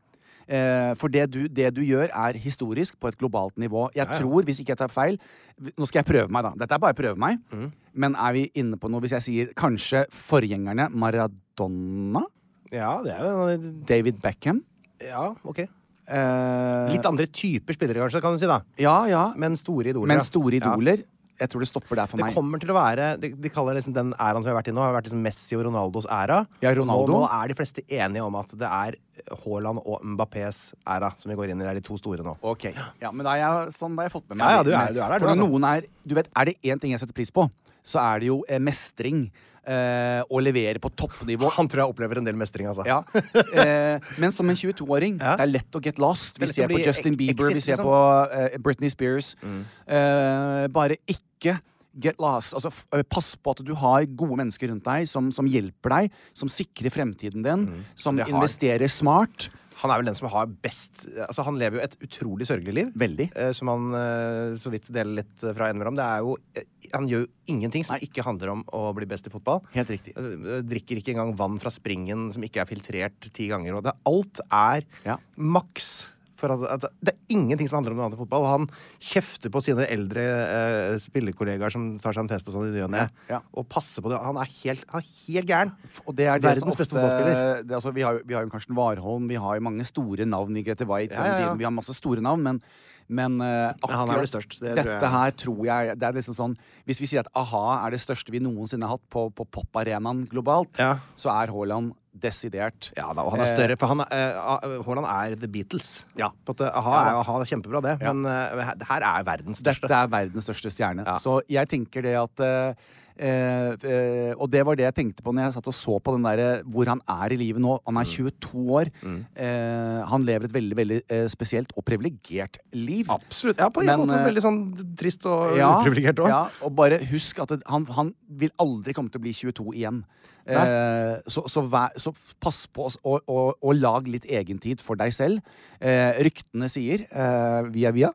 [SPEAKER 4] Eh, for det du, det du gjør, er historisk på et globalt nivå. Jeg tror, hvis ikke jeg tar feil vi- Nå skal jeg prøve meg, da. Dette er bare prøve meg.
[SPEAKER 3] Mm.
[SPEAKER 4] Men er vi inne på noe hvis jeg sier kanskje forgjengerne Maradona?
[SPEAKER 3] ja, det er jo en-
[SPEAKER 4] David Beckham?
[SPEAKER 3] Ja, ok.
[SPEAKER 4] Eh,
[SPEAKER 3] Litt andre typer spillere, kanskje, kan du si, da.
[SPEAKER 4] ja, ja.
[SPEAKER 3] Men store idoler. ja.
[SPEAKER 4] Men store
[SPEAKER 3] Ja.
[SPEAKER 4] idoler. Jeg tror det stopper der for
[SPEAKER 3] Det
[SPEAKER 4] meg.
[SPEAKER 3] kommer til å være De, de kaller liksom den æraen som vi har vært i nå, har vært liksom Messi og Ronaldos æra.
[SPEAKER 4] Ja, Ronaldo.
[SPEAKER 3] Nå, nå er de fleste enige om at det er Haaland og Mbappés æra som vi går inn i. Det er de to store nå.
[SPEAKER 4] Ok, ja, men da har jeg, sånn da har jeg fått med meg
[SPEAKER 3] Ja, ja, du
[SPEAKER 4] det.
[SPEAKER 3] er-
[SPEAKER 4] Men
[SPEAKER 3] du er der, du,
[SPEAKER 4] For når
[SPEAKER 3] altså.
[SPEAKER 4] noen er, du vet, er det én ting jeg setter pris på, så er det jo eh, mestring. Eh, å levere på toppnivå.
[SPEAKER 3] Han tror jeg opplever en del mestring, altså.
[SPEAKER 4] Ja. Eh, men som en 22-åring,
[SPEAKER 3] Ja.
[SPEAKER 4] det er lett å get lost. Vi
[SPEAKER 3] Det er lett
[SPEAKER 4] ser
[SPEAKER 3] å
[SPEAKER 4] på
[SPEAKER 3] bli
[SPEAKER 4] Justin
[SPEAKER 3] ex-
[SPEAKER 4] Bieber,
[SPEAKER 3] exit,
[SPEAKER 4] vi ser
[SPEAKER 3] liksom. Mm.
[SPEAKER 4] på eh, Britney Spears. Eh, bare ikke get lost. Altså, f eh, pass på at du har gode mennesker rundt deg som, som hjelper deg, som sikrer fremtiden din, som
[SPEAKER 3] Mm. Det har-
[SPEAKER 4] investerer smart.
[SPEAKER 3] Han er vel den som har best Altså, han lever jo et utrolig sørgelig liv.
[SPEAKER 4] Veldig.
[SPEAKER 3] eh, Som han eh, så vidt deler litt eh, fra innimellom. Det er jo eh, Han gjør jo ingenting som ikke handler om å bli best i fotball.
[SPEAKER 4] Helt riktig.
[SPEAKER 3] Eh, eh, Drikker ikke engang vann fra springen som ikke er filtrert ti ganger. Og det, alt er
[SPEAKER 4] Ja.
[SPEAKER 3] maks. For at, at det er ingenting som handler om noe annet enn fotball. Og han kjefter på sine eldre eh, spillekollegaer som tar seg en fest og sånn i ny og ne.
[SPEAKER 4] Ja, ja.
[SPEAKER 3] Og passer på det. Han er helt, han er helt gæren.
[SPEAKER 4] Og det er det
[SPEAKER 3] Verdens
[SPEAKER 4] som ofte,
[SPEAKER 3] beste fotballspiller.
[SPEAKER 4] Det, er altså, vi, har, jo- vi har jo Karsten Warholm, vi har jo mange store navn i Grete White.
[SPEAKER 3] Ja, ja, ja.
[SPEAKER 4] Vi har masse store navn, men, men eh,
[SPEAKER 3] han er
[SPEAKER 4] akkurat
[SPEAKER 3] det største, det tror
[SPEAKER 4] dette
[SPEAKER 3] jeg.
[SPEAKER 4] her tror jeg Det er liksom sånn Hvis vi sier at a-ha er det største vi noensinne har hatt på, på poparenaen globalt,
[SPEAKER 3] Ja.
[SPEAKER 4] så er Haaland desidert
[SPEAKER 3] Ja da, og han er
[SPEAKER 4] Eh,
[SPEAKER 3] større, for han, eh, ah, Haaland er The Beatles.
[SPEAKER 4] Ja.
[SPEAKER 3] På en måte, aha,
[SPEAKER 4] Ja.
[SPEAKER 3] er, aha, det er kjempebra det, men eh, her- her er verdens største.
[SPEAKER 4] Dette er verdens største stjerne. Så jeg tenker det at eh, Eh, eh, og det var det jeg tenkte på når jeg satt og så på den der, hvor han er i livet nå. Han er
[SPEAKER 3] Mm.
[SPEAKER 4] 22 år. Eh, han lever et veldig veldig eh, spesielt og privilegert liv.
[SPEAKER 3] Absolutt. Ja, på en
[SPEAKER 4] Men,
[SPEAKER 3] måte
[SPEAKER 4] eh,
[SPEAKER 3] veldig sånn trist og
[SPEAKER 4] ja,
[SPEAKER 3] uprivilegert òg.
[SPEAKER 4] Ja, og bare husk at det- han, han vil aldri komme til å bli 22 igjen. Eh, så, så, vær, så pass på oss og, og, og lag litt egentid for deg selv. Eh, ryktene sier, eh, via via,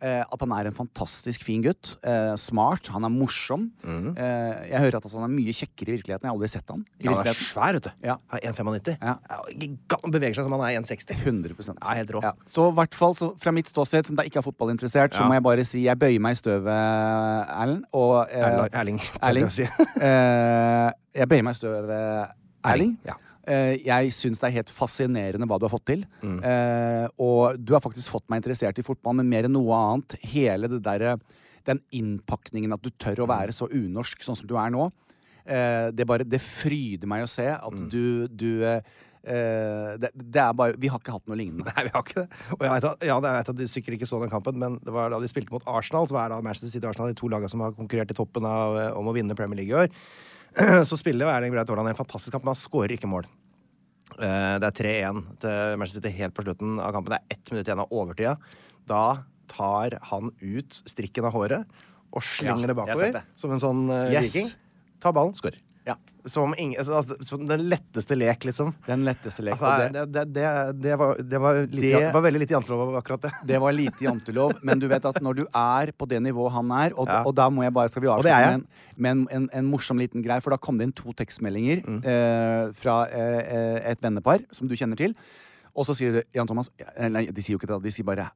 [SPEAKER 4] eh, at han er en fantastisk fin gutt. Eh, smart. Han er morsom. Eh, jeg hører at altså, han er mye kjekkere i virkeligheten. Jeg har aldri sett han.
[SPEAKER 3] Mhm. Ja,
[SPEAKER 4] I
[SPEAKER 3] han er
[SPEAKER 4] virkeligheten.
[SPEAKER 3] svær, vet du.
[SPEAKER 4] Ja.
[SPEAKER 3] Han er 1,95.
[SPEAKER 4] Ja.
[SPEAKER 3] Gigant- Han beveger seg som han er 1,60.
[SPEAKER 4] 100
[SPEAKER 3] Ja, helt rå.
[SPEAKER 4] Så i hvert fall, så fra mitt ståsted, som da ikke er fotballinteressert, så
[SPEAKER 3] Ja.
[SPEAKER 4] må jeg bare si jeg bøyer meg i støvet, Erlend. Og eh,
[SPEAKER 3] Erla- Erling, kan
[SPEAKER 4] Erling.
[SPEAKER 3] jeg si.
[SPEAKER 4] Eh, jeg bøyer meg i støvet, Erling.
[SPEAKER 3] ja.
[SPEAKER 4] Eh, jeg syns det er helt fascinerende hva du har fått til.
[SPEAKER 3] Mm.
[SPEAKER 4] Eh, og du har faktisk fått meg interessert i fotball, men mer enn noe annet hele det derre Den innpakningen at du tør
[SPEAKER 3] Mm.
[SPEAKER 4] å være så unorsk sånn som du er nå. Eh, det, bare, det fryder meg å se at
[SPEAKER 3] Mm.
[SPEAKER 4] du, du eh, eh, det, det er bare Vi har ikke hatt noe lignende.
[SPEAKER 3] Nei, vi har ikke det. Og jeg vet at, ja, jeg vet at de sikkert ikke så den kampen, men det var da de spilte mot Arsenal, som er da Manchester City og Arsenal, de to lagene som har konkurrert i toppen av, eh, om å vinne Premier League i år. Så spiller jo Erling Braut Haaland en fantastisk kamp, men han skårer ikke mål. Eh, Det er 3-1 til Manchester City helt på slutten av kampen. Det er ett minutt igjen av overtida. Da tar han ut strikken av håret og slenger det
[SPEAKER 4] Ja, jeg har
[SPEAKER 3] bakover
[SPEAKER 4] sett det.
[SPEAKER 3] som en sånn eh,
[SPEAKER 4] Yes.
[SPEAKER 3] viking. Tar ballen, skårer.
[SPEAKER 4] Ja.
[SPEAKER 3] Som, ingen, altså, altså, som den letteste lek, liksom.
[SPEAKER 4] Den letteste lek.
[SPEAKER 3] Altså,
[SPEAKER 4] og det,
[SPEAKER 3] det, det, det, det, var, det, var lite,
[SPEAKER 4] Det-
[SPEAKER 3] det... var veldig lite jantelov av akkurat det.
[SPEAKER 4] det var lite jantelov, men du vet at når du er på det nivået han er Og,
[SPEAKER 3] Ja.
[SPEAKER 4] og da må jeg bare skal vi
[SPEAKER 3] det er
[SPEAKER 4] avslutte
[SPEAKER 3] jeg.
[SPEAKER 4] med, en, med en, en, en morsom liten greie, for da kom det inn to tekstmeldinger
[SPEAKER 3] Mm.
[SPEAKER 4] eh, fra eh, eh, et vennepar som du kjenner til. Og så sier de Jan Thomas eh, Nei, de sier jo ikke det. De sier bare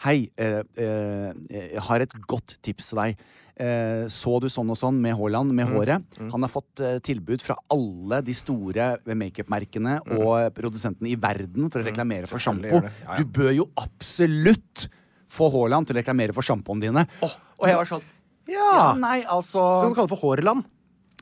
[SPEAKER 4] Hei, eh, eh, jeg har et godt tips til deg. Eh, så du sånn og sånn med Haaland,
[SPEAKER 3] Mm.
[SPEAKER 4] med håret? Han har fått eh, tilbud fra alle de store makeup-merkene
[SPEAKER 3] Mm.
[SPEAKER 4] og produsentene i verden for å reklamere for sjampo.
[SPEAKER 3] gjør det. Ja, ja.
[SPEAKER 4] Du bør jo absolutt få Haaland til å reklamere for sjampoene dine. og jeg var sånn
[SPEAKER 3] Ja!
[SPEAKER 4] ja, Nei, altså
[SPEAKER 3] Skal du kalle det for Hårland?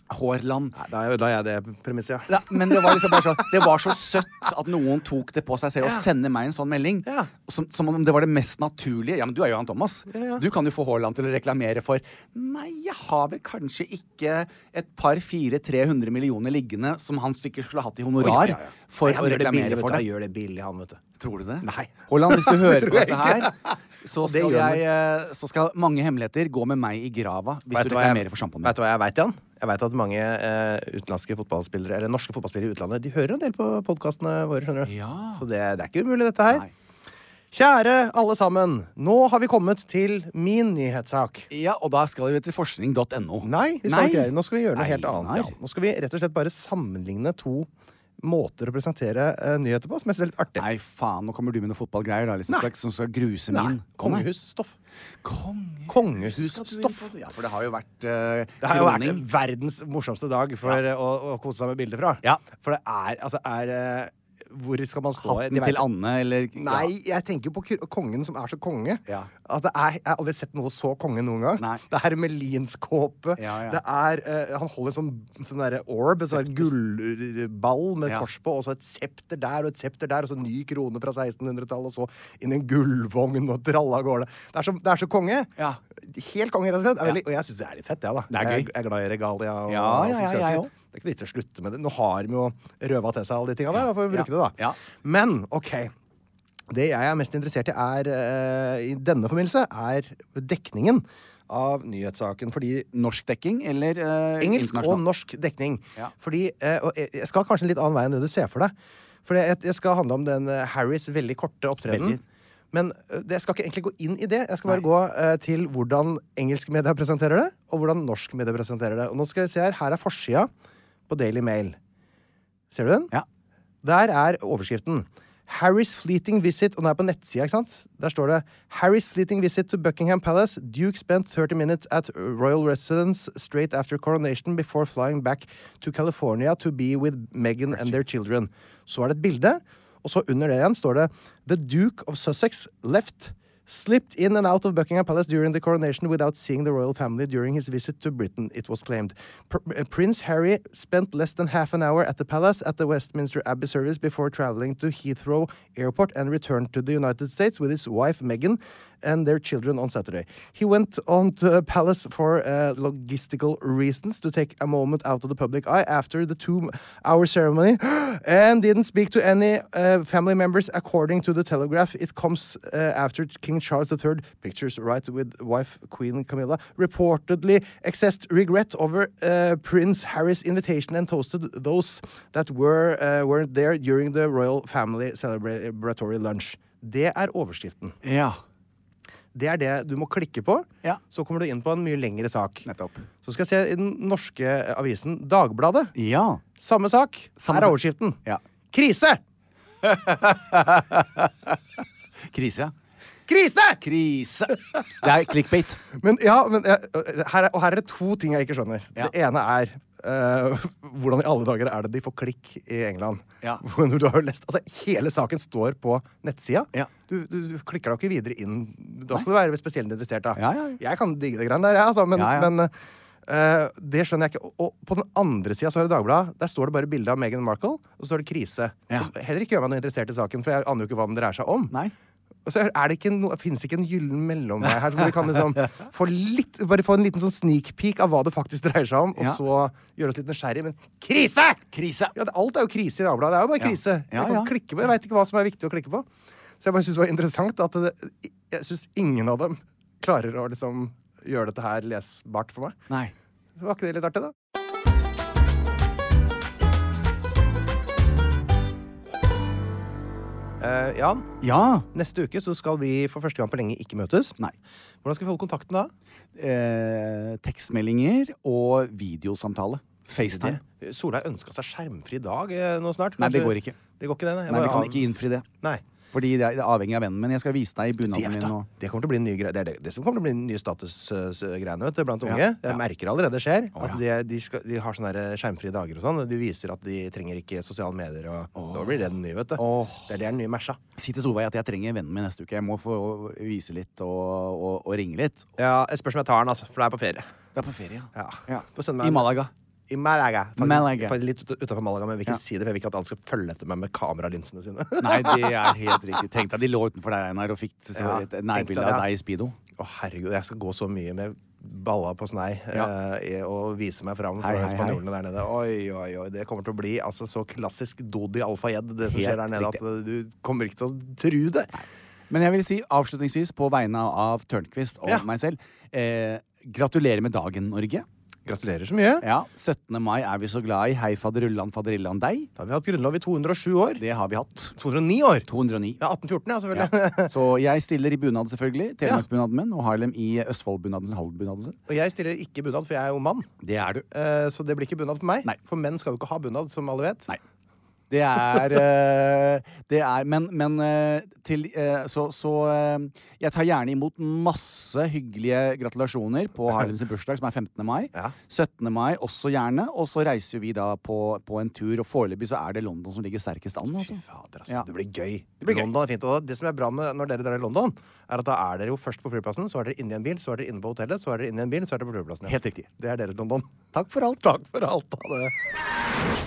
[SPEAKER 4] Haaland.
[SPEAKER 3] Nei, Da ødela jeg det premisset, ja.
[SPEAKER 4] Ja, men det var, liksom bare så, det var så søtt at noen tok det på seg selv og
[SPEAKER 3] Ja.
[SPEAKER 4] sender meg en sånn melding.
[SPEAKER 3] Ja.
[SPEAKER 4] Som, som om det var det mest naturlige. Ja, men du er jo han Thomas. Du kan jo få Haaland til å reklamere for Nei, jeg har vel kanskje ikke et par 400-300 millioner liggende som han sikkert skulle hatt i honorar for
[SPEAKER 3] Han
[SPEAKER 4] å
[SPEAKER 3] gjør det billig,
[SPEAKER 4] reklamere
[SPEAKER 3] vet du.
[SPEAKER 4] for
[SPEAKER 3] Han
[SPEAKER 4] det.
[SPEAKER 3] gjør det billig, han, vet du.
[SPEAKER 4] Tror du det?
[SPEAKER 3] Nei.
[SPEAKER 4] Haaland, hvis du hører på
[SPEAKER 3] tror jeg ikke.
[SPEAKER 4] dette her, så
[SPEAKER 3] Og det
[SPEAKER 4] skal,
[SPEAKER 3] gjør han.
[SPEAKER 4] jeg, eh, så skal mange hemmeligheter gå med meg i grava hvis
[SPEAKER 3] Vet
[SPEAKER 4] du
[SPEAKER 3] hva jeg-
[SPEAKER 4] reklamerer for sjampoen
[SPEAKER 3] Vet
[SPEAKER 4] din.
[SPEAKER 3] du hva jeg vet, Jan? Jeg vet at mange eh, utenlandske fotballspillere, eller norske fotballspillere i utlandet, de hører en del på podkastene våre, skjønner du.
[SPEAKER 4] Ja.
[SPEAKER 3] Så det, det er ikke umulig, dette her.
[SPEAKER 4] Nei.
[SPEAKER 3] Kjære alle sammen, nå har vi kommet til min nyhetssak.
[SPEAKER 4] Ja, og da skal vi til forskning.no.
[SPEAKER 3] Nei, vi skal
[SPEAKER 4] Nei.
[SPEAKER 3] ikke det. Nå skal vi gjøre noe
[SPEAKER 4] Nei,
[SPEAKER 3] helt annet.
[SPEAKER 4] nei.
[SPEAKER 3] Ja. Nå skal vi rett og slett bare sammenligne to måter å presentere eh, nyheter på, som jeg synes er litt artig.
[SPEAKER 4] Nei, faen, nå kommer du med noen fotballgreier da, liksom,
[SPEAKER 3] Nei.
[SPEAKER 4] som skal- som skal gruse
[SPEAKER 3] Nei,
[SPEAKER 4] min.
[SPEAKER 3] Kongehusstoff.
[SPEAKER 4] Konge. Skal du inn på
[SPEAKER 3] Kongehusstoff.
[SPEAKER 4] det? Ja, for det har jo vært uh,
[SPEAKER 3] Det har jo vært verdens morsomste dag for eh, å, å kose seg med bilder fra.
[SPEAKER 4] Ja.
[SPEAKER 3] For det er altså er eh, Hvor skal man stå?
[SPEAKER 4] Hatten
[SPEAKER 3] De vet-
[SPEAKER 4] til Anne, eller
[SPEAKER 3] Nei,
[SPEAKER 4] ja.
[SPEAKER 3] jeg tenker på kur- kongen som er så konge.
[SPEAKER 4] Ja.
[SPEAKER 3] At det er, jeg har aldri sett noe så konge noen gang.
[SPEAKER 4] Nei.
[SPEAKER 3] Det er hermelinskåpe.
[SPEAKER 4] Ja, ja.
[SPEAKER 3] Det er eh, Han holder en sånn, sånn derre orb, en sånn gullball med
[SPEAKER 4] Ja.
[SPEAKER 3] kors på, og så et septer der og et septer der, og så ny krone fra 1600-tallet, og så inn i en gullvogn og tralla av gårde. Det er, så, det er så konge.
[SPEAKER 4] Ja.
[SPEAKER 3] Helt konge, rett og slett. Det er
[SPEAKER 4] Ja.
[SPEAKER 3] veldig- Og jeg syns det er litt fett, jeg, da.
[SPEAKER 4] er
[SPEAKER 3] Jeg- Jeg
[SPEAKER 4] gøy.
[SPEAKER 3] er glad i regalia. Og,
[SPEAKER 4] Ja, ja,
[SPEAKER 3] og
[SPEAKER 4] ja,
[SPEAKER 3] fiskekaker.
[SPEAKER 4] jeg òg.
[SPEAKER 3] Det er ikke noe vits i å slutte med det. Nå har de jo røva til seg alle de tinga der, da, for å bruke
[SPEAKER 4] Ja.
[SPEAKER 3] det, da.
[SPEAKER 4] Ja.
[SPEAKER 3] Men OK. Det jeg er mest interessert i er, eh, i denne forbindelse, er dekningen av nyhetssaken. Fordi
[SPEAKER 4] Norsk dekking, eller eh,
[SPEAKER 3] engelsk og
[SPEAKER 4] internasjonal?
[SPEAKER 3] norsk dekning.
[SPEAKER 4] Ja.
[SPEAKER 3] Fordi, eh, og jeg- jeg skal kanskje en litt annen vei enn det du ser for deg. For jeg, jeg skal handle om den eh, Harrys veldig korte opptreden.
[SPEAKER 4] Veldig.
[SPEAKER 3] Men eh, det, jeg skal ikke egentlig gå inn i det. Jeg skal bare gå eh, til hvordan engelske medier presenterer det, og hvordan norsk medier presenterer det. Og nå skal vi se her. Her er forsida på Daily Mail. Ser du den?
[SPEAKER 4] Ja.
[SPEAKER 3] Der er overskriften. Harry's fleeting visit Og den er på nettsida, ikke sant? Der står det Harry's fleeting visit to Buckingham Palace. Duke spent 30 minutes at royal residence straight after coronation before flying back to California to be with Meghan and their children. Så er det et bilde, og så under det igjen står det The Duke of Sussex left Slipped in and out of Buckingham Palace during the coronation without seeing the royal family during his visit to Britain, it was claimed. Pr- uh, Prince Harry spent less than half an hour at the palace at the Westminster Abbey service before traveling to Heathrow Airport and returned to the United States with his wife Meghan and their children on Saturday. He went on to the palace for uh, logistical reasons to take a moment out of the public eye after the two hour ceremony and didn't speak to any uh, family members. According to the Telegraph, it comes uh, after King Charles III, pictures right with wife Queen Camilla, reportedly expressed regret over uh, Prince Harry's invitation and toasted those that were, uh, weren't there during the royal family celebratory lunch. Det er overskriften.
[SPEAKER 4] Ja.
[SPEAKER 3] Det er det du må klikke på.
[SPEAKER 4] Ja.
[SPEAKER 3] Så kommer du inn på en mye lengre sak.
[SPEAKER 4] Nettopp.
[SPEAKER 3] Så skal jeg se i den norske eh, avisen Dagbladet.
[SPEAKER 4] Ja.
[SPEAKER 3] Samme sak.
[SPEAKER 4] Samme
[SPEAKER 3] Her
[SPEAKER 4] sak.
[SPEAKER 3] er overskriften.
[SPEAKER 4] Ja.
[SPEAKER 3] Krise!
[SPEAKER 4] Krise.
[SPEAKER 3] Krise!
[SPEAKER 4] Krise. Det er clickbait.
[SPEAKER 3] Men, ja, men, eh, her er, og her er det to ting jeg ikke skjønner.
[SPEAKER 4] Ja.
[SPEAKER 3] Det ene er eh, hvordan i alle dager er det de får klikk i England?
[SPEAKER 4] Ja.
[SPEAKER 3] Hvor Du har jo lest, altså, hele saken står på nettsida.
[SPEAKER 4] Ja.
[SPEAKER 3] Du, du, du klikker deg jo ikke videre inn. Da skal du være spesielt interessert. Da.
[SPEAKER 4] Ja, ja, ja.
[SPEAKER 3] Jeg kan digge det greiene der, jeg, altså, men,
[SPEAKER 4] Ja, ja.
[SPEAKER 3] men eh, det skjønner jeg ikke. Og, og på den andre sida har du Dagbladet. Der står det bare bilde av Meghan Markle, og så står det krise.
[SPEAKER 4] Ja.
[SPEAKER 3] Som heller ikke gjør meg noe interessert i saken, for jeg aner jo ikke hva den dreier seg om.
[SPEAKER 4] Nei.
[SPEAKER 3] Og så er det ikke no, finnes ikke en gyllen mellomvei her. Hvor vi kan liksom få litt, bare få en liten sånn sneak peek av hva det faktisk dreier seg om, og
[SPEAKER 4] Ja.
[SPEAKER 3] så gjøre oss litt nysgjerrig. Men krise!
[SPEAKER 4] Krise.
[SPEAKER 3] Ja, det- alt er jo krise i Dagbladet. Det er jo bare
[SPEAKER 4] Ja.
[SPEAKER 3] krise.
[SPEAKER 4] Ja,
[SPEAKER 3] Jeg kan
[SPEAKER 4] ja.
[SPEAKER 3] klikke på, jeg veit ikke hva som er viktig å klikke på. Så jeg bare syns det var interessant at det, jeg syns ingen av dem klarer å liksom gjøre dette her lesbart for meg.
[SPEAKER 4] Nei.
[SPEAKER 3] Var ikke det litt artig, da? Eh, Jan,
[SPEAKER 4] Ja.
[SPEAKER 3] Neste uke så skal vi for første gang på lenge ikke møtes.
[SPEAKER 4] Nei.
[SPEAKER 3] Hvordan skal vi holde kontakten da?
[SPEAKER 4] Eh, tekstmeldinger og videosamtale. FaceTime.
[SPEAKER 3] Det- Solveig ønska seg skjermfri dag eh, nå snart.
[SPEAKER 4] Nei, det
[SPEAKER 3] Kanskje-
[SPEAKER 4] går ikke.
[SPEAKER 3] Det går ikke det, nei. Jeg
[SPEAKER 4] Nei, vi
[SPEAKER 3] bare
[SPEAKER 4] kan
[SPEAKER 3] av-
[SPEAKER 4] ikke innfri det.
[SPEAKER 3] Nei.
[SPEAKER 4] Fordi det er, det er avhengig av vennen min. Jeg skal vise deg i
[SPEAKER 3] Det,
[SPEAKER 4] bunaden
[SPEAKER 3] vet
[SPEAKER 4] min
[SPEAKER 3] du,
[SPEAKER 4] nå.
[SPEAKER 3] det kommer til å bli en ny greie. Det er det, det som kommer til å bli den nye statusgreiene vet du, blant unge.
[SPEAKER 4] ja.
[SPEAKER 3] Jeg merker allerede det skjer. At de, de, skal, de har sånne der skjermfrie dager og sånn. og De viser at de trenger ikke sosiale medier. Og, Da blir det den nye, vet du.
[SPEAKER 4] Åh.
[SPEAKER 3] Det er det er den nye mersa.
[SPEAKER 4] Si til Solveig at jeg trenger vennen min neste uke. Jeg må få vise litt og, og, og ringe litt.
[SPEAKER 3] Ja, jeg spørs om jeg tar den, altså. For det er på ferie.
[SPEAKER 4] Det er på ferie, ja.
[SPEAKER 3] Ja. Få sende meg en-
[SPEAKER 4] I Malaga.
[SPEAKER 3] I Malaga. Faktisk,
[SPEAKER 4] Malaga.
[SPEAKER 3] faktisk Litt utafor Malaga, men jeg vil ikke
[SPEAKER 4] Ja.
[SPEAKER 3] si det. for Jeg vil ikke at alle skal følge etter meg med kameralinsene sine.
[SPEAKER 4] Nei, det er helt riktig. Tenk deg, de lå utenfor der, Einar, og fikk så,
[SPEAKER 3] Ja,
[SPEAKER 4] et
[SPEAKER 3] tenk deg
[SPEAKER 4] nærbilde av
[SPEAKER 3] det.
[SPEAKER 4] deg i speedo.
[SPEAKER 3] Å, herregud, jeg skal gå så mye med balla på snei
[SPEAKER 4] Ja.
[SPEAKER 3] eh, og vise meg fram
[SPEAKER 4] Hei,
[SPEAKER 3] for
[SPEAKER 4] hei,
[SPEAKER 3] spanjolene der nede. Oi, oi, oi. Det kommer til å bli altså, så klassisk Dodi Alfayed, det som
[SPEAKER 4] Helt
[SPEAKER 3] skjer der nede, at eh, du kommer ikke til å tru det.
[SPEAKER 4] Men jeg vil si avslutningsvis, på vegne av Tørnquist og
[SPEAKER 3] Ja.
[SPEAKER 4] meg selv, eh, gratulerer med dagen, Norge.
[SPEAKER 3] Gratulerer så mye.
[SPEAKER 4] Ja, 17. mai er vi så glad i. Hei, faderullan, faderillan deg.
[SPEAKER 3] Da har vi hatt grunnlov i 207 år.
[SPEAKER 4] Det har vi hatt.
[SPEAKER 3] 209 år!
[SPEAKER 4] 209.
[SPEAKER 3] Ja, 1814, ja, selvfølgelig.
[SPEAKER 4] Ja. Så jeg stiller i bunad, selvfølgelig. Telemarksbunaden min. Og Harlem i Østfoldbunaden. Halvbunaden.
[SPEAKER 3] Og jeg stiller ikke bunad, for jeg er jo mann.
[SPEAKER 4] Det er du.
[SPEAKER 3] Eh, så det blir ikke bunad på meg.
[SPEAKER 4] Nei.
[SPEAKER 3] For menn skal jo ikke ha bunad, som alle vet.
[SPEAKER 4] Nei. Det er, eh, det er Men, men eh, til eh, Så, så eh, jeg tar gjerne imot masse hyggelige gratulasjoner på Harlems bursdag, som er 15. mai.
[SPEAKER 3] Ja.
[SPEAKER 4] 17. mai også gjerne. Og så reiser jo vi da på, på en tur, og foreløpig så er det London som ligger sterkest an. Altså.
[SPEAKER 3] Fy fader, altså.
[SPEAKER 4] Ja.
[SPEAKER 3] Det blir gøy. London er fint. Og det som er bra med når dere drar i London, er at da er dere jo først på flyplassen, så er dere inne i en bil, så er dere inne på hotellet, så er dere inne i en bil, så er dere på flyplassen.
[SPEAKER 4] Helt riktig.
[SPEAKER 3] Det er deres London.
[SPEAKER 4] Takk for alt.
[SPEAKER 3] Takk for alt. Ha det.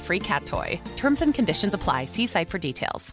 [SPEAKER 7] free cat toy. Terms and conditions apply. See site for details.